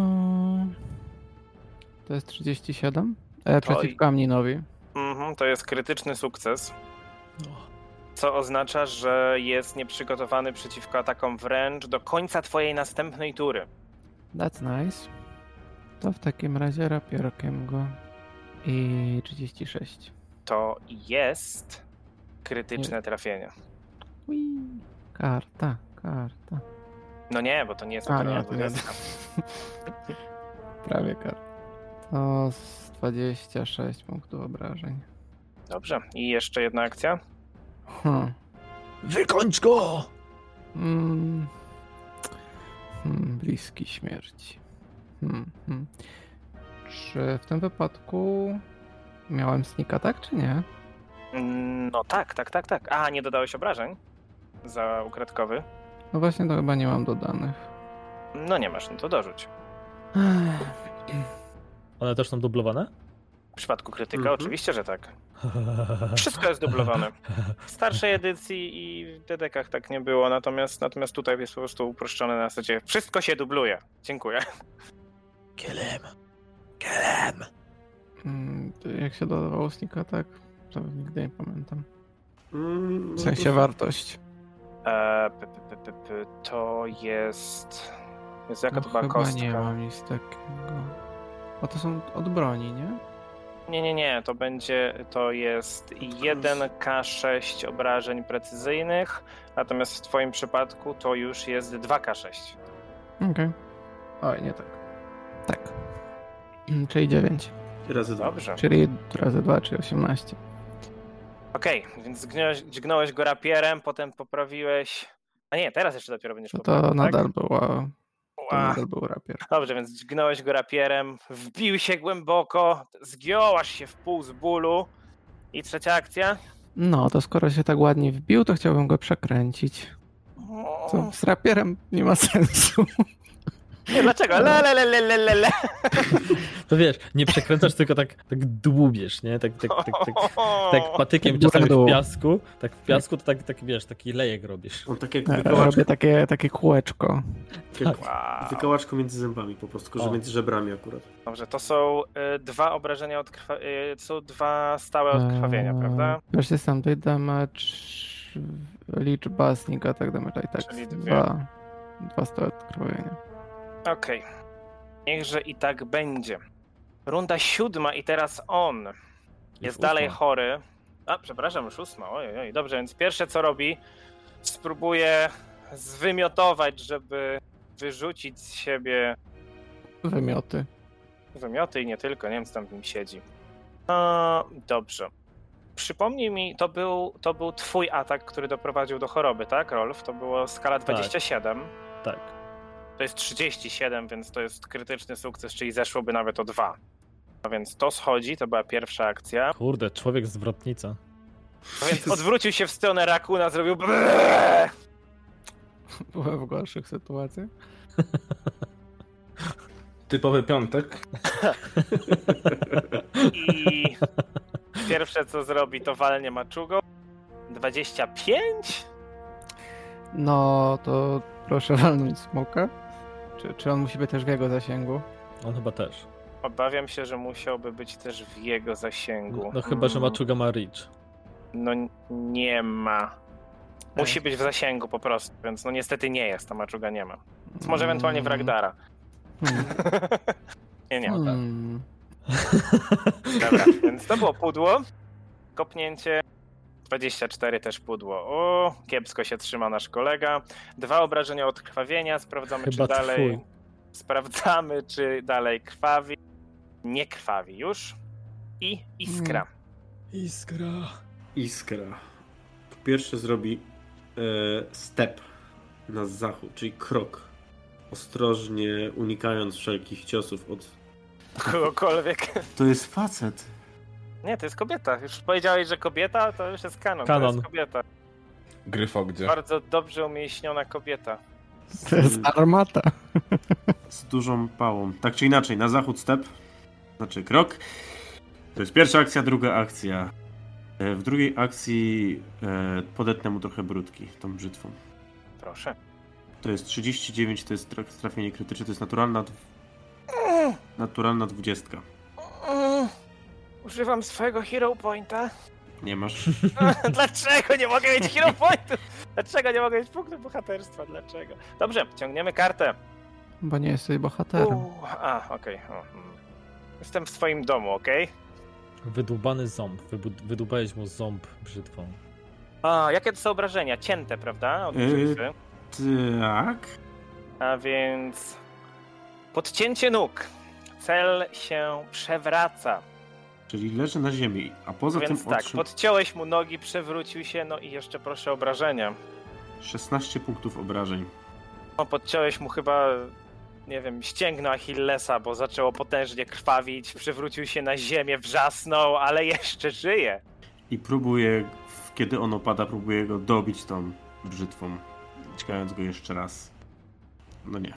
To jest 37? E, przeciwko Amninowi. Mhm, to jest krytyczny sukces, No. O, co oznacza, że jest nieprzygotowany przeciwko atakom wręcz do końca twojej następnej tury. That's nice. To w takim razie rapierkiem go. I 36. To jest krytyczne trafienie. Ui. Karta, karta. No nie, bo to nie jest A, naturalna nie, to nie dwudziestka. [laughs] Prawie karta. To z 26 punktów obrażeń. Dobrze, i jeszcze jedna akcja. Hmm. Wykończ go! Mm. Hmm, bliski śmierci. Hmm, hmm. Czy w tym wypadku miałem snika, tak czy nie? Mm, No tak, tak, tak, tak. A, nie dodałeś obrażeń za ukradkowy? No właśnie, to chyba nie mam dodanych. No nie masz, no to dorzuć. One też są dublowane? W przypadku krytyka Mhm. oczywiście, że tak. Wszystko jest [laughs] dublowane. W starszej edycji i w dedekach tak nie było, natomiast, natomiast tutaj jest po prostu uproszczone na zasadzie wszystko się dubluje. Dziękuję. Kielem. Kielem. Mm, to Jak się dodawało snika, tak? To nigdy nie pamiętam. Mm, W no sensie to- wartość. E, p, p, p, p, p, to jest... Jest jaka No to była chyba kostka? nie mam nic takiego. Bo to są od broni, nie? nie, nie, nie, to będzie... To jest 1K6 obrażeń precyzyjnych, natomiast w twoim przypadku to już jest 2K6. Okej. Oj, nie tak. Tak. Mm, Czyli 9. Razy dwa. Dobrze. Czyli razy 2, czyli 18. Okej, więc zgnąłeś, dźgnąłeś go rapierem, potem poprawiłeś... A nie, teraz jeszcze dopiero będziesz To, poprawiał, No to nadal tak? była. To Ła. nadal był rapier. Dobrze, więc dźgnąłeś go rapierem, wbił się głęboko, zgiąłaś się w pół z bólu. I trzecia akcja. No, to skoro się tak ładnie wbił, to chciałbym go przekręcić. Co, z rapierem nie ma [laughs] sensu. Mm, Nie, dlaczego? Le, le, le, le, le, le, le. To wiesz, nie przekręcasz, tylko tak, tak dłubiesz, nie? Tak, tak, tak, tak, tak patykiem W górę, czasami dół. w piasku. Tak w piasku to tak, tak wiesz, taki lejek robisz. On tak jak wykołaczko, E, Robię tak. takie, takie kółeczko. jak Wow. wykołaczko między zębami po prostu, tylko że O. między żebrami akurat. Dobrze, to są y, dwa obrażenia od krwa... y, to są dwa stałe odkrwawienia, Eee, prawda? Versus tamtej damage, liczba snika, tak damage i tak. Czyli dwie. dwa, dwa stałe odkrwawienia. Okej. Niechże i tak będzie. Runda siódma i teraz on. Jest dalej chory. A, przepraszam, już ósma. Ojej, ojej. dobrze, więc pierwsze co robi, spróbuje zwymiotować, żeby wyrzucić z siebie Wymioty. [laughs] wymioty i nie tylko, nie wiem co tam w nim siedzi. No, dobrze. Przypomnij mi, to był, to był twój atak, który doprowadził do choroby, tak, Rolf? To było skala 27. Tak. To jest 37, więc to jest krytyczny sukces, czyli zeszłoby nawet o dwa. A więc to schodzi, to była pierwsza akcja. Kurde, człowiek zwrotnica. No Więc odwrócił się w stronę rakuna, zrobił. brrrr. Byłem w gorszych sytuacjach. Typowy piątek. I pierwsze co zrobi, to walnie maczugą. 25? No, to proszę [laughs] walnąć smoka. Czy, czy on musi być też w jego zasięgu? On chyba też. Obawiam się, że musiałby być też w jego zasięgu. No chyba, że Maczuga ma reach. No n- nie ma. Musi być w zasięgu po prostu, więc no niestety nie jest, ta maczuga nie ma. Więc może ewentualnie w Mm. Ragdara. Hmm. [laughs] nie, tak. nie. Hmm. Dobra, więc to było pudło. Kopnięcie. 24 też pudło. O, kiepsko się trzyma nasz kolega. Dwa obrażenia od krwawienia. Sprawdzamy, Chyba czy dalej. twój. Sprawdzamy, czy dalej krwawi. Nie krwawi już. I iskra. Iskra. Iskra. Po pierwsze zrobi e, step na zachód, czyli krok. Ostrożnie unikając wszelkich ciosów od. Kogokolwiek. [laughs] To jest facet. Nie, to jest kobieta. Już powiedziałeś, że kobieta, to już jest kanon. To Kanon. jest kobieta. Gryfo gdzie? Bardzo dobrze umieśniona kobieta. To jest armata. Z dużą pałą. Tak czy inaczej, na zachód step, znaczy krok. To jest pierwsza akcja, druga akcja. E, W drugiej akcji e, podetnę mu trochę brudki tą brzytwą. Proszę. To jest 39, to jest traf- trafienie krytyczne, to jest naturalna, naturalna 20. Używam swojego hero pointa. Nie masz. [laughs] Dlaczego nie mogę mieć hero pointu? Dlaczego nie mogę mieć punktu bohaterstwa? Dlaczego? Dobrze, ciągniemy kartę. Bo nie jesteś bohaterem. Uuu, a, okej. o, mm. Jestem w swoim domu, okej? Wydłubany ząb. Wybu- wydłubałeś mu ząb brzytwą. A, jakie to są obrażenia? Cięte, prawda? Od Yy. brzytwy. Tak. A więc... Podcięcie nóg. Cel się przewraca. Czyli leży na ziemi, a poza Więc tym tak, otrzym- podciąłeś mu nogi, przewrócił się, no i jeszcze proszę obrażenia. 16 punktów obrażeń. No, podciąłeś mu chyba, nie wiem, ścięgno Achillesa, bo zaczęło potężnie krwawić, przewrócił się na ziemię, wrzasnął, ale [laughs] jeszcze żyje. I próbuje, kiedy on opada, próbuje go dobić tą brzytwą, ciekając go jeszcze raz. No nie.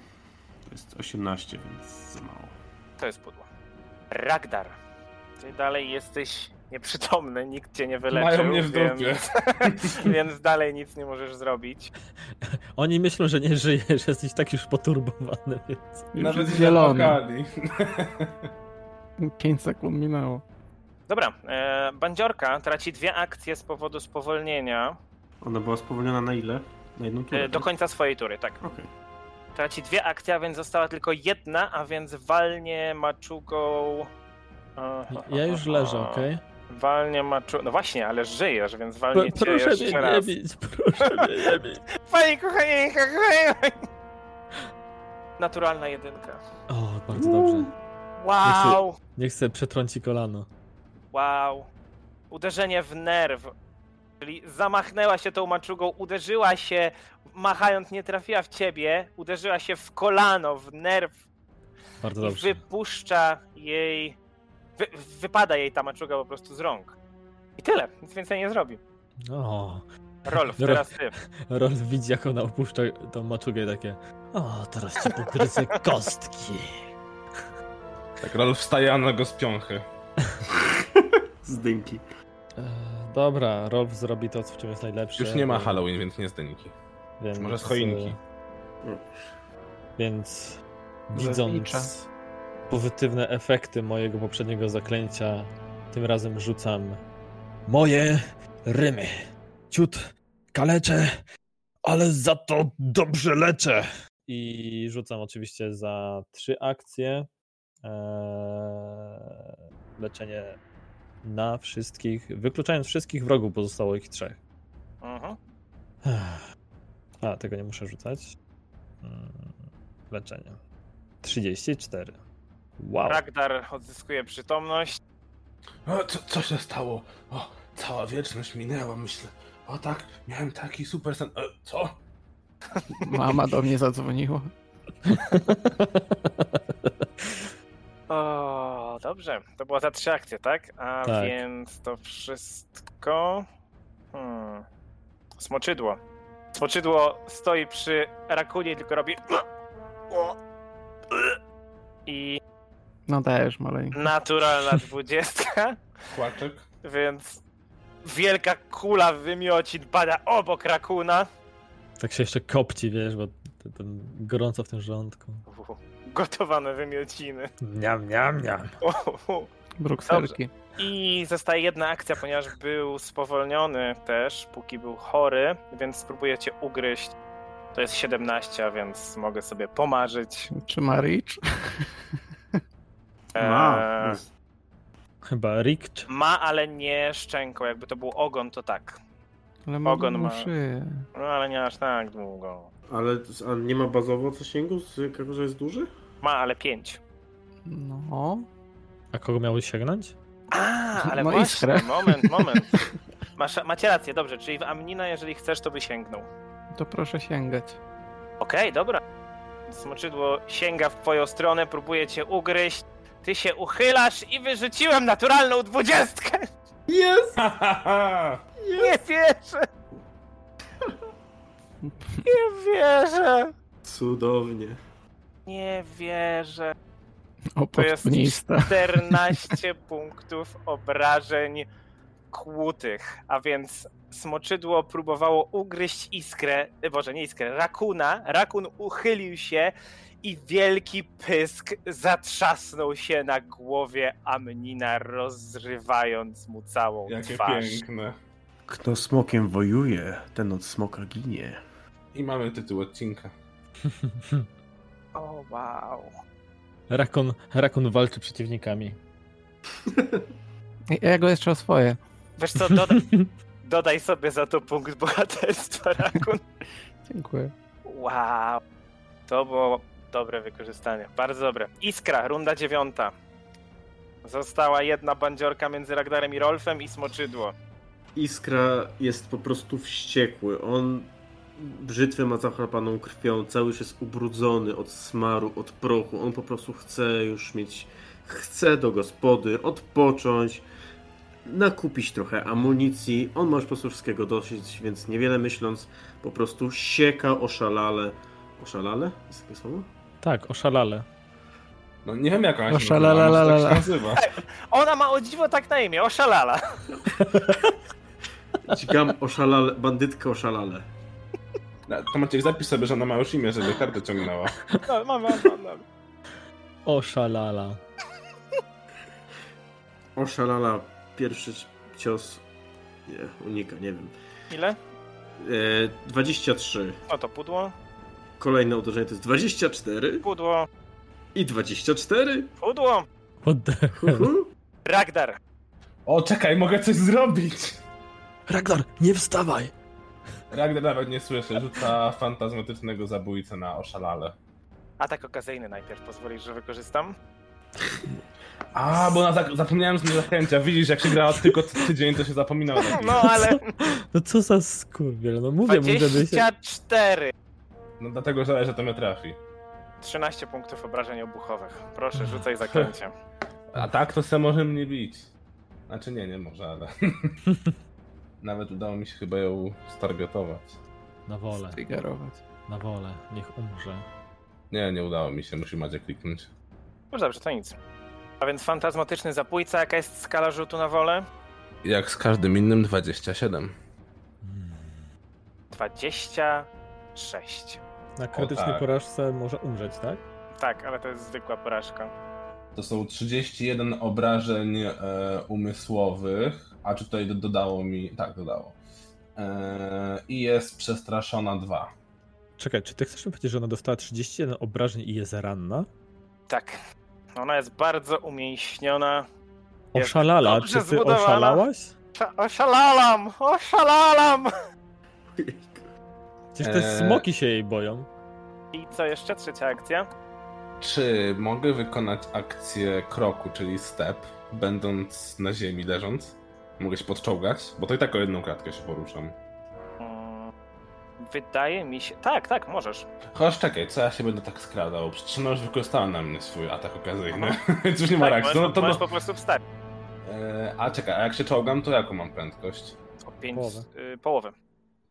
To jest 18, więc za mało. To jest pudło. Ragdar, ty dalej jesteś nieprzytomny, nikt cię nie wyleczył, Mają mnie w dupie. Więc, [laughs] więc dalej nic nie możesz zrobić. Oni myślą, że nie żyjesz, że jesteś tak już poturbowany, więc... Nawet Już nie zielony. zapłakali. 5 sekund minęło. Dobra, e, bandziorka traci dwie akcje z powodu spowolnienia Ona była spowolniona na ile? Na jedną turę? e, do końca swojej tury, tak. Okej. Traci dwie akcje, a więc została tylko jedna, a więc walnie maczugą. e, No, Ja już leżę, okej? Walnie maczu. No właśnie, ale żyjesz, więc Pro- walnie cię Proszę jeszcze mnie nie raz. bić, proszę mnie nie bić. Panie kochanie, kochanie! Naturalna jedynka. O, bardzo dobrze. Wow! Nie chcę przetrąci kolano. Wow! Uderzenie w nerw. Czyli zamachnęła się tą maczugą, uderzyła się, machając nie trafiła w ciebie, uderzyła się w kolano, w nerw, Bardzo i dobrze. wypuszcza jej. Wy, wypada jej ta maczuga po prostu z rąk. I tyle, nic więcej nie zrobi. O, Rolf, Ro- teraz ty. Rol widzi, jak ona opuszcza tą maczugę i takie... O, teraz ci pogryzę kostki. Tak, Rolf wstaje, a ona go z piąchy. Zdymki. E, Dobra, Rolf zrobi to, w czym jest E, najlepszy. Już nie ma więc- Halloween, więc nie zdeniki. Więc, e, Może z choinki. Więc Zasadnicza. widząc pozytywne efekty mojego poprzedniego zaklęcia, tym razem rzucam moje rymy. Ciut, kaleczę, ale za to dobrze leczę. I rzucam oczywiście za trzy akcje. Eee, leczenie na wszystkich, wykluczając wszystkich wrogów, pozostało ich trzech. Mhm. A, tego nie muszę rzucać. Mm, Leczenie. 34. Wow. Ragdar odzyskuje przytomność. O, co, co się stało? O, cała wieczność minęła, myślę. O tak, miałem taki super sen. E, co? Mama do mnie zadzwoniła. O, dobrze. To była ta trzy akcje, tak? A Tak. więc to wszystko. Hmm. Smoczydło. Smoczydło stoi przy rakunie, tylko robi. [clears throat] I No dajesz maleńko. naturalna dwudziestka. Kłaczek? Więc wielka kula wymiocin pada obok rakuna. [laughs] Tak się jeszcze kopci, wiesz, bo ten, ten gorąco w tym żołądku. Uhu, Gotowane wymiociny. [laughs] Niam, niam, niam. Uhu. Brukselki. I zostaje jedna akcja, ponieważ był spowolniony też, póki był chory, więc spróbuję cię ugryźć. To jest 17, a więc mogę sobie pomarzyć. Czy ma reach? Ma. Eee, Jest. Chyba Rikcz. Ma, ale nie szczęką. Jakby to był ogon, to tak. Ale ma Ogon długą ma. szyję. No ale nie aż tak długo. Ale to- a nie ma bazowo zasięgu, z jakiego że jest duży? Ma, ale pięć. No. A kogo miały sięgnąć? A, ale No właśnie, iskrę. moment, moment. Masz, macie rację, dobrze, czyli w Amnina, jeżeli chcesz, to by sięgnął. To proszę sięgać. Okej, dobra. Smoczydło sięga w twoją stronę, próbuje cię ugryźć. Ty się uchylasz i wyrzuciłem naturalną dwudziestkę! Jest! Nie wierzę! Nie wierzę! Cudownie. Nie wierzę. Oportunista. [laughs] 14 punktów obrażeń kłutych, a więc smoczydło próbowało ugryźć iskrę, y, boże nie iskrę, rakuna, rakun uchylił się i wielki pysk zatrzasnął się na głowie Amnina, rozrywając mu całą Jakie twarz. piękne. Kto smokiem wojuje, ten od smoka ginie. I mamy tytuł odcinka. O wow. Rakon, Rakon walczy przeciwnikami. Ja go jeszcze oswoję. Wiesz co, doda [laughs] dodaj sobie za to punkt bohaterstwa, rakun. Dziękuję. Wow. To było dobre wykorzystanie. Bardzo dobre. Iskra, runda dziewiąta. Została jedna bandziorka między Ragdarem i Rolfem i Smoczydło. Iskra jest po prostu wściekły. On brzytwy ma zachrapaną krwią, cały już jest ubrudzony od smaru, od prochu. On po prostu chce już mieć, chce do gospody, odpocząć, nakupić trochę amunicji. On ma już po prostu wszystkiego dosyć, więc niewiele myśląc, po prostu sieka oszalale. Oszalale? Jest takie słowo? Tak, oszalale. No nie wiem jak ona się nazywa, ale może tak się Oszalalalala. nazywa. Ona ma o dziwo tak na imię, oszalala. [laughs] Dźgam oszalale, bandytkę oszalale. No, To Maciek, zapisz sobie, że ona ma już imię, żeby kartę ciągnęła. No, mam, mam, mam, mam. Oszalala. Oszalala, pierwszy cios. Nie, unika, nie wiem. Ile? E, 23. No to pudło. Kolejne uderzenie to jest 24 Pudło. i 24. Pudło. What the... Huhu. Ragdar. O, czekaj, mogę coś zrobić! Ragnar, nie wstawaj! Ragnar nawet nie słyszy, rzuca fantazmatycznego zabójcę na oszalale. Atak okazyjny najpierw, pozwolisz, że wykorzystam? A, bo na zak- zapomniałem z niezachęcia. Widzisz, jak się grała tylko ty- tydzień, to się zapominał. o tym. No, [laughs] ale No co za skurwiel, no mówię mu, żeby się... 24. No dlatego żałuję, że to mnie trafi. 13 punktów obrażeń obuchowych. Proszę, rzucaj zaklęcie. A tak to se może mnie bić. Znaczy nie, nie może, ale... [laughs] Nawet udało mi się chyba ją stargetować. Na wolę, Triggerować. na wolę, niech umrze. Nie, nie udało mi się, musi Macie kliknąć. No dobrze, to nic. A więc fantazmatyczny zabójca, jaka jest skala rzutu na wolę? Jak z każdym innym 27. Mm. 26. Na krytycznej tak. porażce może umrzeć, tak? Tak, ale to jest zwykła porażka. To są 31 obrażeń e, umysłowych, a czy tutaj do- dodało mi... Tak, dodało. E, I jest przestraszona 2. Czekaj, czy ty chcesz mi powiedzieć, że ona dostała 31 obrażeń i jest ranna? Tak. Ona jest bardzo umięśniona. Jest Oszalala, dobrze czy ty zbudowana. oszalałaś? Osza- Oszalalam! Oszalalam! Przecież te Eee. smoki się jej boją. I co jeszcze? Trzecia akcja. Czy mogę wykonać akcję kroku, czyli step, będąc na ziemi leżąc? Mogę się podczołgać? Bo to i tak o jedną kratkę się poruszam. Mm, Wydaje mi się. Tak, tak, możesz. Chociaż czekaj, co ja się będę tak skradał? Przecież ona już wykorzystała na mnie swój atak okazyjny, więc [laughs] już nie ma tak, reakcji. możesz, No, to możesz no... po prostu wstać. E, A czekaj, a jak się czołgam, to jaką mam prędkość? O pięć, Połowę. y, połowę.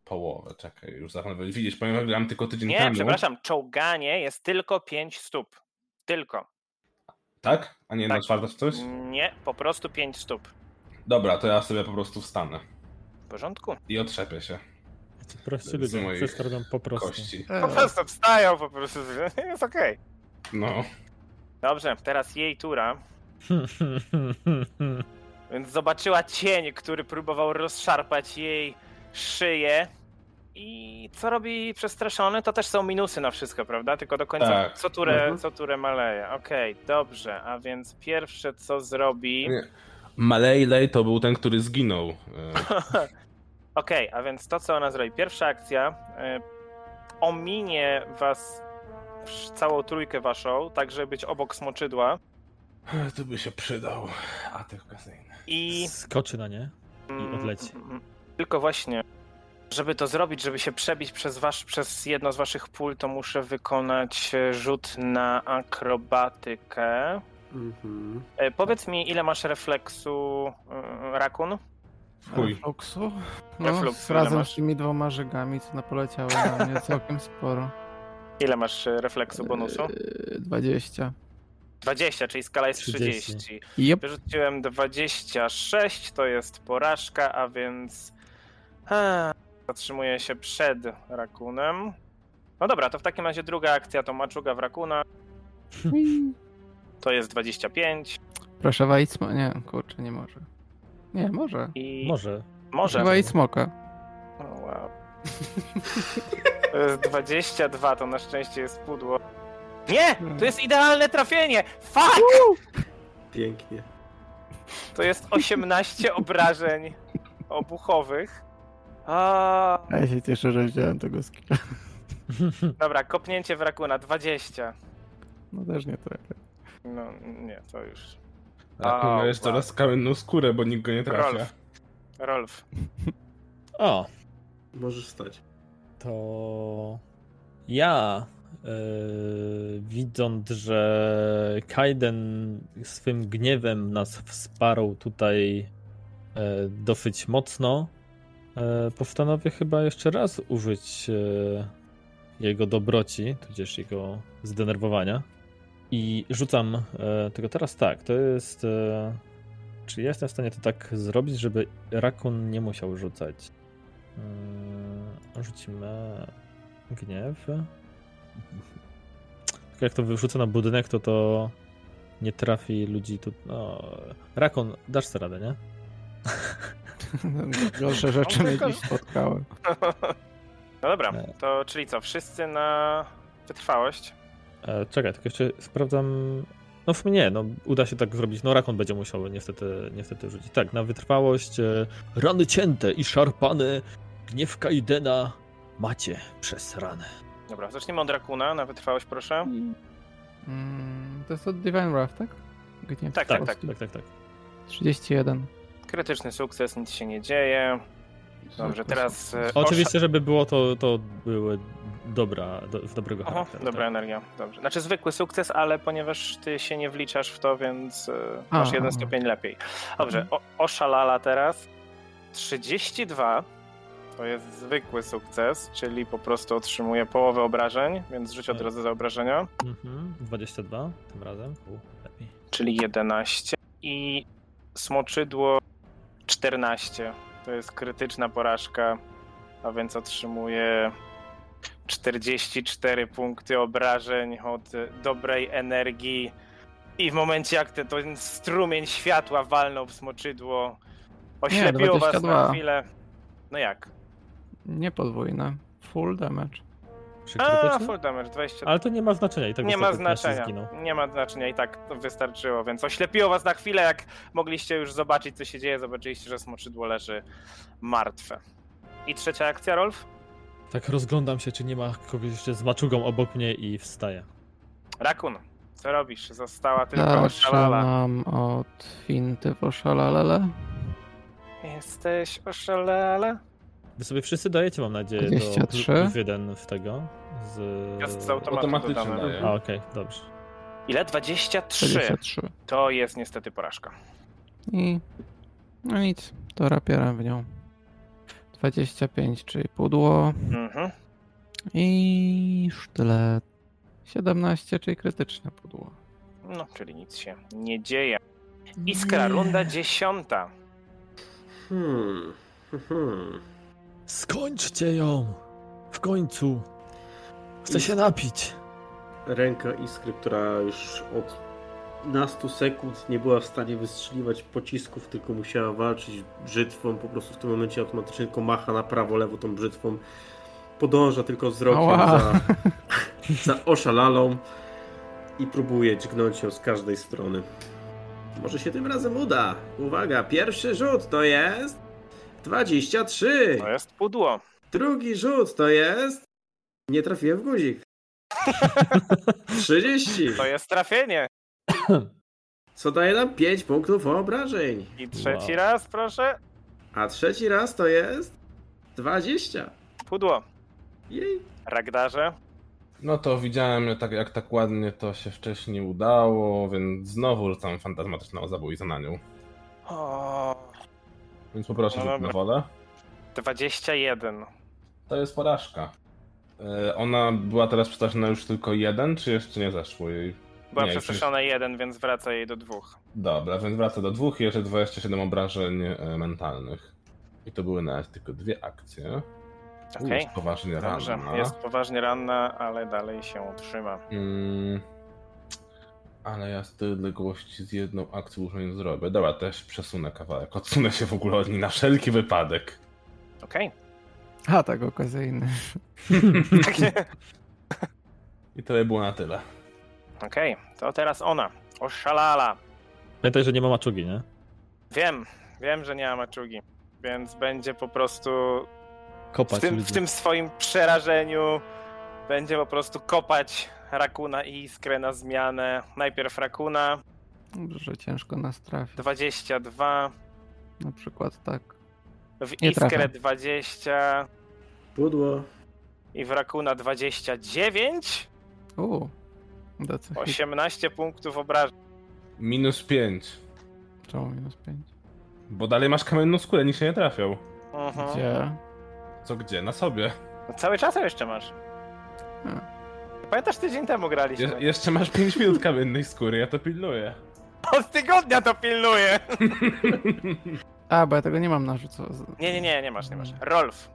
Połowę, czekaj, już zachodzę. Widzisz, powiem, gram tylko tydzień Nie, temu. przepraszam, czołganie jest tylko 5 stóp. Tylko. Tak? A nie na Tak. czwarta czy coś? Nie, po prostu 5 stóp. Dobra, to ja sobie po prostu wstanę W porządku. i otrzepię się Ci prości Z ludzie, moich wszyscy robią po prostu. [laughs] kości. Po prostu wstają, po prostu. [laughs] Jest okej. No. Dobrze, teraz jej tura. Więc zobaczyła cień, który próbował rozszarpać jej szyję. I co robi przestraszony, to też są minusy na wszystko, prawda? Tylko do końca Tak. co, turę, Mhm. co turę maleje. Okej, dobrze, a więc pierwsze co zrobi. Nie. Malejlej to był ten, który zginął. E, [laughs] Okej, a więc to, co ona zrobi. Pierwsza akcja e, ominie was, wsz- całą trójkę waszą, tak żeby być obok smoczydła Tu by się przydał atak okazyjny. i... Skoczy na nie. i odleci. Mm, mm, Tylko właśnie, żeby to zrobić, żeby się przebić przez, wasz, przez jedno z waszych pól, to muszę wykonać e, rzut na akrobatykę. Mhm. E, Powiedz mi, ile masz refleksu, e, Rakun? Chuj. E, Refluxu? No, Refluxu, ile razem masz? z tymi dwoma żegami, co napoleciały na mnie całkiem sporo. Ile masz e, refleksu bonusu? Yy, 20. 20, czyli skala jest 30. 30. Jep. Wyrzuciłem 26, to jest porażka, a więc eee, zatrzymuję się przed rakunem. No dobra, to w takim razie druga akcja to maczuga w rakuna. To jest 25 Proszę walić smoka. Nie, kurczę, nie może. Nie, może. i Może. może. Proszę walić smoka. O, wow. [laughs] To jest 22, to na szczęście jest pudło. Nie! To jest idealne trafienie! Fuck! Pięknie. To jest 18 obrażeń obuchowych. A, Ja się cieszę, że wziąłem tego skilla. [laughs] dobra, kopnięcie w rakuna 20. No też nie trafia. No nie, to już. Rakun ma Au, no jeszcze wow. raz kamienną skórę, bo nikt go nie trafia. Rolf. Rolf. O, Możesz stać. to ja yy, widząc, że Kaiden swym gniewem nas wsparł tutaj yy, dosyć mocno, yy, postanowię chyba jeszcze raz użyć yy, jego dobroci, tudzież jego zdenerwowania. I rzucam yy, tylko teraz tak, to jest. Yy, czy ja jestem w stanie to tak zrobić, żeby Rakun nie musiał rzucać? Mm, Rzucimy gniew. Tylko jak to wyrzucę na budynek, to to nie trafi ludzi tu. No, Rakon, dasz sobie radę, nie? [laughs] Gorsze rzeczy No, mnie tylko- dziś spotkały. No dobra, E. to czyli co, wszyscy na wytrwałość. E, czekaj, tylko jeszcze sprawdzam. No w mnie, no uda się tak zrobić. No Rakon będzie musiał niestety, niestety rzucić. Tak, na wytrwałość. E, rany cięte i szarpane. Gniew Kaidena macie przez ranę. Dobra, zacznijmy od rakuna na wytrwałość, proszę. Mm, to jest od Divine Wrath, tak? Gniew Tak, Tak, Polski. tak, tak, tak, tak. 31. Krytyczny sukces, nic się nie dzieje. Dobrze, teraz. e, No, Oczywiście, żeby było to, to były dobra, do, w dobrego Osz... Aha, charakteru. dobra tak. energia. Dobrze. Znaczy zwykły sukces, ale ponieważ ty się nie wliczasz w to, więc e, A, no. masz jeden a. stopień lepiej. Dobrze, Mhm. o, oszalala teraz. 32 to jest zwykły sukces, czyli po prostu otrzymuje połowę obrażeń, więc rzuć od Tak. razu za obrażenia. Mhm, 22 tym razem. U, lepiej. czyli 11 i smoczydło 14. To jest krytyczna porażka, a więc otrzymuje 44 punkty obrażeń od e, dobrej energii. I w momencie jak ten, ten strumień światła walnął w smoczydło, oślepiło was na 22. chwilę. No jak? Nie podwójne. Full damage. Przy A, krytycznym? full damage, 20. Ale to nie ma znaczenia i tak nie ma ostatecznie się znaczenia. Zginął. Nie ma znaczenia i tak to wystarczyło, więc oślepiło was na chwilę, jak mogliście już zobaczyć, co się dzieje, zobaczyliście, że smoczydło leży martwe. I trzecia akcja, Rolf? Tak rozglądam się, czy nie ma kogoś jeszcze z maczugą obok mnie i wstaję. Rakun, co robisz? Została tylko oszalala. Zaczynam od finty w oszalalele. Jesteś oszalala? Wy sobie wszyscy dajecie, mam nadzieję, 23? do plus jeden w tego. Z... Jest z automatu Automatycznie dodane. no. daje. A, okej, dobrze. Ile? 23. 23. To jest niestety porażka. I no nic, to rapieram w nią. 25, czyli pudło Mhm. i sztylet. 17, czyli krytyczne pudło. No, czyli nic się nie dzieje. Iskra, runda dziesiąta. Hmm. Hmm. Skończcie ją! W końcu! Chcę się napić! Ręka iskry, która już od nastu sekund nie była w stanie wystrzeliwać pocisków, tylko musiała walczyć brzytwą. Po prostu w tym momencie automatycznie tylko macha na prawo, lewo tą brzytwą. Podąża tylko wzrokiem Ała. za, [laughs] za oszalalą i próbuje dźgnąć ją z każdej strony. Może się tym razem uda. Uwaga, pierwszy rzut to jest 23. To jest pudło. Drugi rzut to jest. Nie trafiłem w guzik. 30. To jest trafienie. Co daje nam 5 punktów obrażeń. I trzeci Wow. raz, proszę. A trzeci raz to jest 20. Pudło. Jej. Ragdarze. No to widziałem, tak, jak tak ładnie to się wcześniej udało, więc znowu rzucam fantazmatyczną zabójcę na nią. O, Więc poproszę No no dobra. na wolę. 21. To jest porażka. E, Ona była teraz przestraszona już tylko jeden, czy jeszcze nie zeszło jej? Była Nie, już przestraszona jeden, więc wraca jej do dwóch. Dobra, więc wraca do dwóch i jeszcze 27 obrażeń e, mentalnych. I to były nawet tylko dwie akcje. U, Okej. jest poważnie Dobrze, ranna. jest poważnie ranna, ale dalej się utrzyma. Mm, ale ja z tej odległości z jedną akcją już nie zrobię. Dobra, też przesunę kawałek. Odsunę się w ogóle od niej na wszelki wypadek. [laughs] Okej. A, tak, okazyjny. I to by było na tyle. Okej, to teraz ona. Oszalala. Pamiętaj, że nie ma maczugi, nie? Wiem, wiem, że nie ma maczugi, więc będzie po prostu w Kopać tym, ludzi. w tym swoim przerażeniu będzie po prostu kopać Rakuna i Iskrę na zmianę. Najpierw Rakuna, Że ciężko nas trafi. 22, Na przykład tak. w Nie Iskrę trafia. 20 Pudło. i w Rakuna 29, U, DC 18 punktów obrażeń. Minus 5. czemu minus 5? Bo dalej masz kamienną skórę, nikt się nie trafiał. Mhm. Gdzie? Co gdzie? Na sobie. No Cały czas ją jeszcze masz. Hmm. Pamiętasz tydzień temu graliśmy? Je- jeszcze masz 5 minut kamiennej skóry, ja to pilnuję. Od tygodnia to pilnuję! A, bo ja tego nie mam na rzucu. Nie, nie, nie, nie masz, nie masz. Rolf,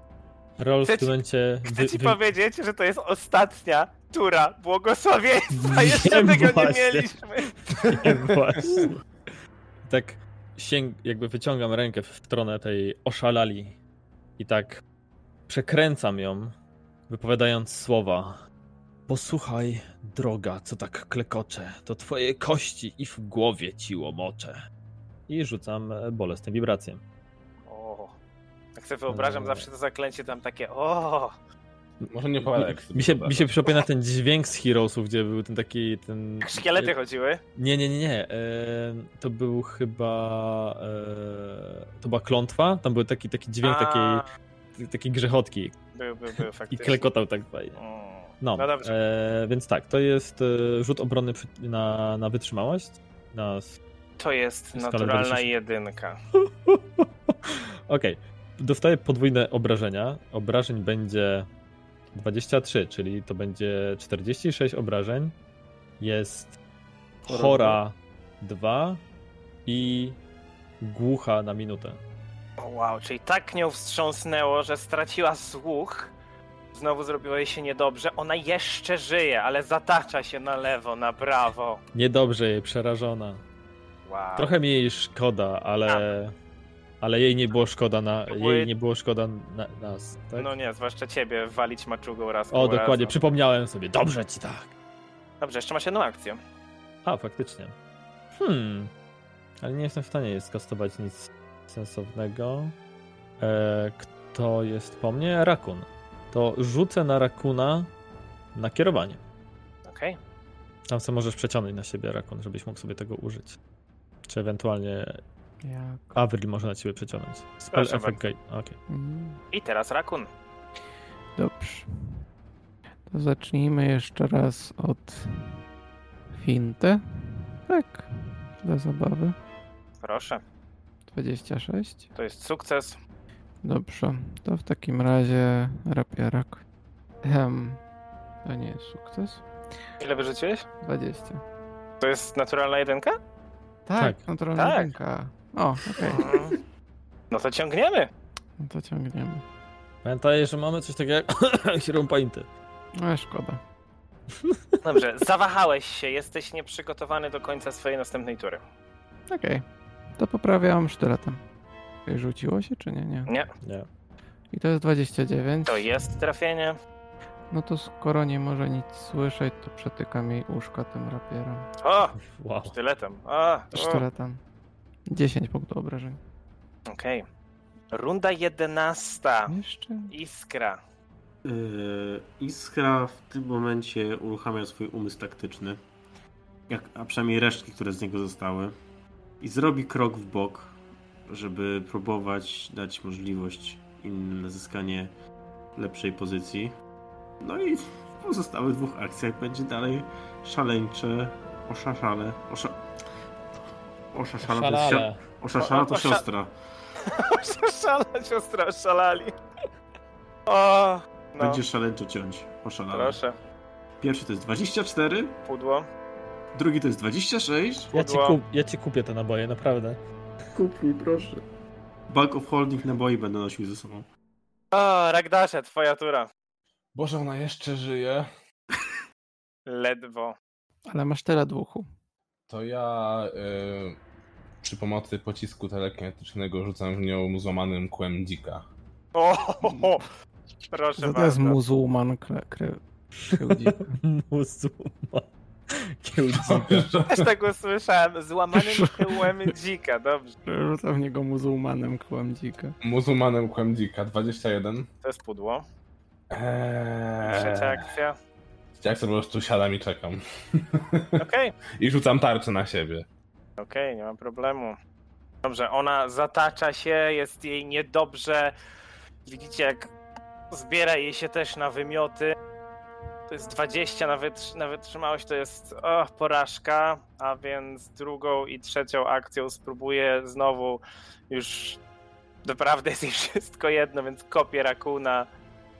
Rolf Chcę ci- w tym momencie... Chcę wy- ci wy- powiedzieć, że to jest ostatnia tura błogosławieństwa. Jeszcze Wiem tego właśnie. nie mieliśmy. Nie, [laughs] właśnie. Tak sięg, jakby wyciągam rękę w stronę tej oszalali i tak przekręcam ją, wypowiadając słowa. Posłuchaj, droga, co tak klekocze, to twoje kości i w głowie ci łomocze. I rzucam e, bolesne wibracje. O, tak sobie wyobrażam zawsze to zaklęcie tam takie o. Może nie powiadaj. Mi się, mi się przypomina ten dźwięk z Heroesów, gdzie był ten taki... Ten... Jak szkielety Eee. chodziły. Nie, nie, nie, nie. E, to był chyba. E, to była klątwa. Tam był taki, taki dźwięk A, takiej, takiej grzechotki Był, był, był, i faktycznie. klekotał tak fajnie. Mm. No, No dobrze. E, więc tak, to jest e, rzut obronny przy, na, na wytrzymałość. Na... s- To jest Skalę naturalna 26. jedynka. Okej. Dostaję podwójne obrażenia. Obrażeń będzie 23, czyli to będzie 46 obrażeń. Jest Chora chora 2 i głucha na minutę. O, wow, czyli tak nią wstrząsnęło, że straciła słuch. Znowu zrobiło jej się niedobrze. Ona jeszcze żyje, ale zatacza się na lewo, na prawo. Niedobrze jej, przerażona. Wow. Trochę mi jej szkoda, ale. Ale jej nie było szkoda na. Tak. To były- Jej nie było szkoda na nas, tak? No nie, zwłaszcza ciebie walić maczugą raz O, koło dokładnie, razu. przypomniałem sobie. Dobrze ci tak. Dobrze, jeszcze masz jedną akcję. A, faktycznie. Hmm. Ale nie jestem w stanie jej skastować nic sensownego. E, kto jest po mnie? Rakun. To rzucę na rakuna na kierowanie. Okej. Tam sobie możesz przeciągnąć na siebie rakun, żebyś mógł sobie tego użyć. Czy ewentualnie Jak? Avril może na ciebie przeciągnąć. Spell Proszę effect gate. Okej. Mm, I teraz rakun. Dobrze. To zacznijmy jeszcze raz od Fintę. Tak, dla zabawy. Proszę. 26. To jest sukces. Dobrze, to w takim razie rapierak. Ehm, to nie jest sukces. Ile wyrzuciłeś? 20. To jest naturalna jedynka? Tak, Tak. naturalna Tak. ręka. O, okej, Mhm. Mm. No to ciągniemy. no to ciągniemy. Pamiętaj, że mamy coś takiego jak [coughs] Hero Pointy. No szkoda. Dobrze, zawahałeś się, jesteś nieprzygotowany do końca swojej następnej tury. Okej, to poprawiam sztyletem. Ej, Rzuciło się czy nie? Nie. Nie, Nie. I to jest 29. to jest trafienie. No to skoro nie może nic słyszeć, to przetykam jej uszka tym rapierem. O! Wow. Sztyletem. A, o, Sztyletem. 10 punktów obrażeń. Okej. Runda 11. Jeszcze? [laughs] Iskra. Yy, Iskra w tym momencie uruchamia swój umysł taktyczny, jak, a przynajmniej resztki, które z niego zostały, i zrobi krok w bok, żeby próbować dać możliwość innym na zyskanie lepszej pozycji. No i w pozostałych dwóch akcjach będzie dalej szaleńcze, oszaszale, osza... Oszaszale to jest Szalale. sio... Oszaszala O- to osza- siostra. Szala, siostra, szalali. O! No, Będzie szaleńczo ciąć. Oszalale. proszę. Pierwszy to jest 24, Pudło. drugi to jest 26, Ja ci, Pudło. kup, ja ci kupię te naboje, naprawdę. [laughs] Kup mi, proszę. Bag of Holding naboi będę nosił ze sobą. O, Ragdasia, twoja tura. Boże, ona jeszcze żyje. Ledwo. Ale masz tyle dłuchu. To ja y, przy pomocy pocisku telekinetycznego rzucam w nią złamanym [laughs] kłem dzika. O, ho, ho. Proszę To jest bardzo. muzułman kre, kre, [laughs] kiełdzika. Muzułman. Kiełdzika. Też tak usłyszałem. [laughs] Złamanym tyłem dzika, dobrze. Rzuca w niego muzułmanem kłam dzika. Muzułmanem kłem dzika, 21. To jest pudło. Trzecia Eee, akcja. jak sobie po prostu siadam i czekam. [laughs] Okej. I rzucam tarczę na siebie. Okej, nie ma problemu. Dobrze, ona zatacza się, jest jej niedobrze. Widzicie, jak zbiera jej się też na wymioty. To jest 20 na, wytrzy- na wytrzymałość, to jest o, porażka, a więc drugą i trzecią akcją spróbuję znowu. Już naprawdę jest jej wszystko jedno, więc kopię rakuna.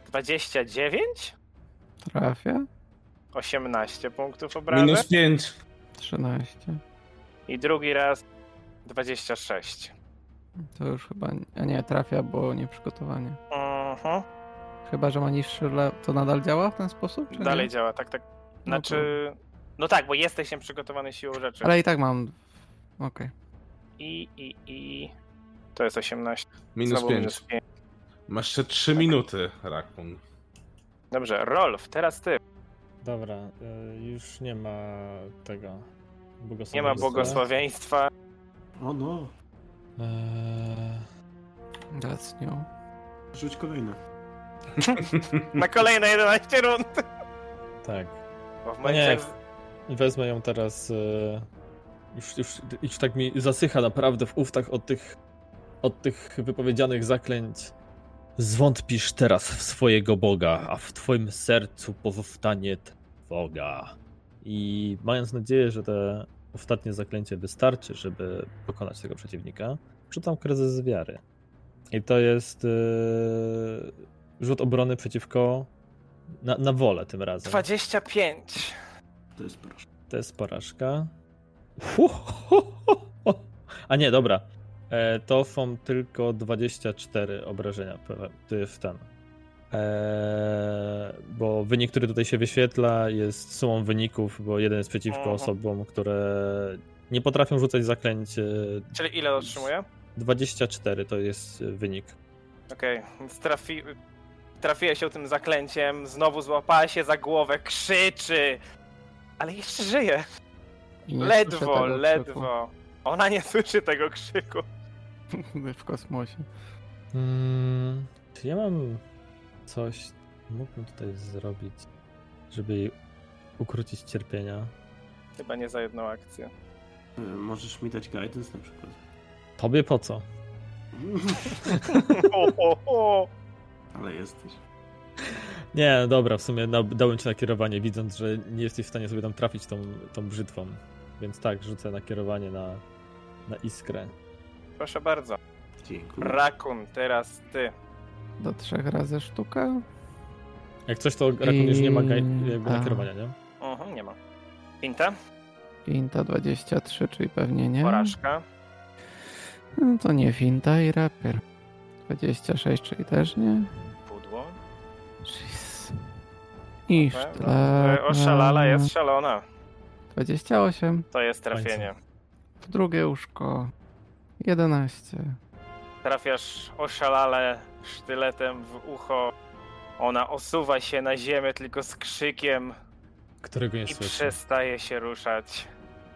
29? Trafia? 18 punktów obrażeń. Minus 5. 13. I drugi raz 26. To już chyba. A nie, trafia, bo nieprzygotowanie. Mhm. Chyba, że ma niższy le... To nadal działa w ten sposób? Czy Dalej nie? działa, tak, tak. Mhm. to- Znaczy. No tak, bo jesteś nieprzygotowany siłą rzeczy. Ale i tak mam. Okej. I, i, i. To jest 18. Minus Znowu 5. pięć. Masz jeszcze 3 minuty, Rakun. Dobrze, Rolf, teraz ty. Dobra, y, już nie ma tego. Nie ma błogosławieństwa. błogosławieństwa. O no, Eee, Okay. Teraz nią. rzuć kolejne. Na kolejne 11 rund. tak. Bo No w momencie. nie. jak z- I wezmę ją teraz. e, Już, już, już tak mi zasycha naprawdę w ustach od tych, od tych wypowiedzianych zaklęć. Zwątpisz teraz w swojego Boga, a w twoim sercu pozostanie trwoga. I mając nadzieję, że te ostatnie zaklęcie wystarczy, żeby pokonać tego przeciwnika, rzucam kryzys wiary. I to jest e, rzut obrony przeciwko na, na wolę tym razem. 25. To jest proszę. To jest porażka. Hu, hu, hu, hu. A nie, dobra. E, to są tylko 24 obrażenia pe- ty w ten. E, bo wynik, który tutaj się wyświetla, jest sumą wyników, bo jeden jest przeciwko Mhm. osobom, które nie potrafią rzucać zaklęć. E, Czyli ile otrzymuję? 24 to jest e, wynik. Okej, więc trafi... trafiłeś się tym zaklęciem, znowu złapała się za głowę, krzyczy. Ale jeszcze żyje. I nie słyszę Ledwo, tego ledwo. Ona nie słyszy tego krzyku. krzyku [laughs] W kosmosie. Mm, czy ja mam coś, mógłbym tutaj zrobić, żeby jej ukrócić cierpienia? Chyba nie za jedną akcję. Yy, Możesz mi dać guidance na przykład. [laughs] Tobie po co? Ho, ho, ho. Ale jesteś. Nie, dobra, w sumie na- dałem ci nakierowanie, widząc, że nie jesteś w stanie sobie tam trafić tą, tą brzytwą. Więc tak, rzucę nakierowanie na, na iskrę. Proszę bardzo. Dziękuję. Rakun, teraz ty. Do trzech razy sztuka. Jak coś, to Rakun już nie ma gaj- I- jakby a. nakierowania, nie? Mhm, nie ma. Pinta, Finta 23, czyli pewnie nie. porażka. No to nie finta i rapier. 26, czyli też nie. Pudło. Jeez. I Dobra. sztylet. E, Oszalala jest szalona. 28. To jest trafienie. W drugie łóżko. 11. Trafiasz oszalale sztyletem w ucho. Ona osuwa się na ziemię tylko z krzykiem którego nie i słyszę. przestaje się ruszać.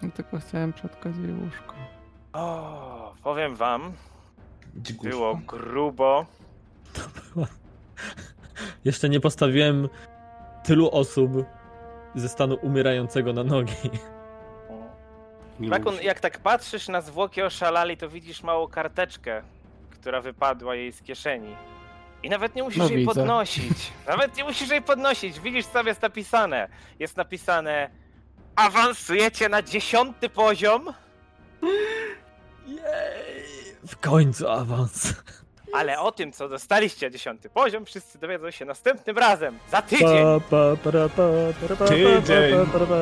No tylko chciałem przetkać jej łóżko. O, powiem wam, Dzikuś. było grubo. Jeszcze nie postawiłem tylu osób ze stanu umierającego na nogi. Nie Rakun, mówisz. jak tak patrzysz na zwłoki oszalali, to widzisz małą karteczkę, która wypadła jej z kieszeni. I nawet nie musisz No jej widzę. [laughs] podnosić. Nawet nie musisz jej podnosić. Widzisz, co jest napisane. Jest napisane: awansujecie na dziesiąty poziom, Jej! W końcu awans. ale o tym, co dostaliście na dziesiąty poziom, wszyscy dowiedzą się następnym razem, za tydzień. Pa, pa, para, pa, para, pa, Tydzień. pa, para, pa,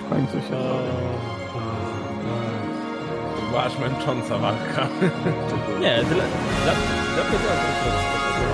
W końcu się pa. udało. To była aż męcząca walka. Nie, tyle. Dla, dla mnie to było spoko.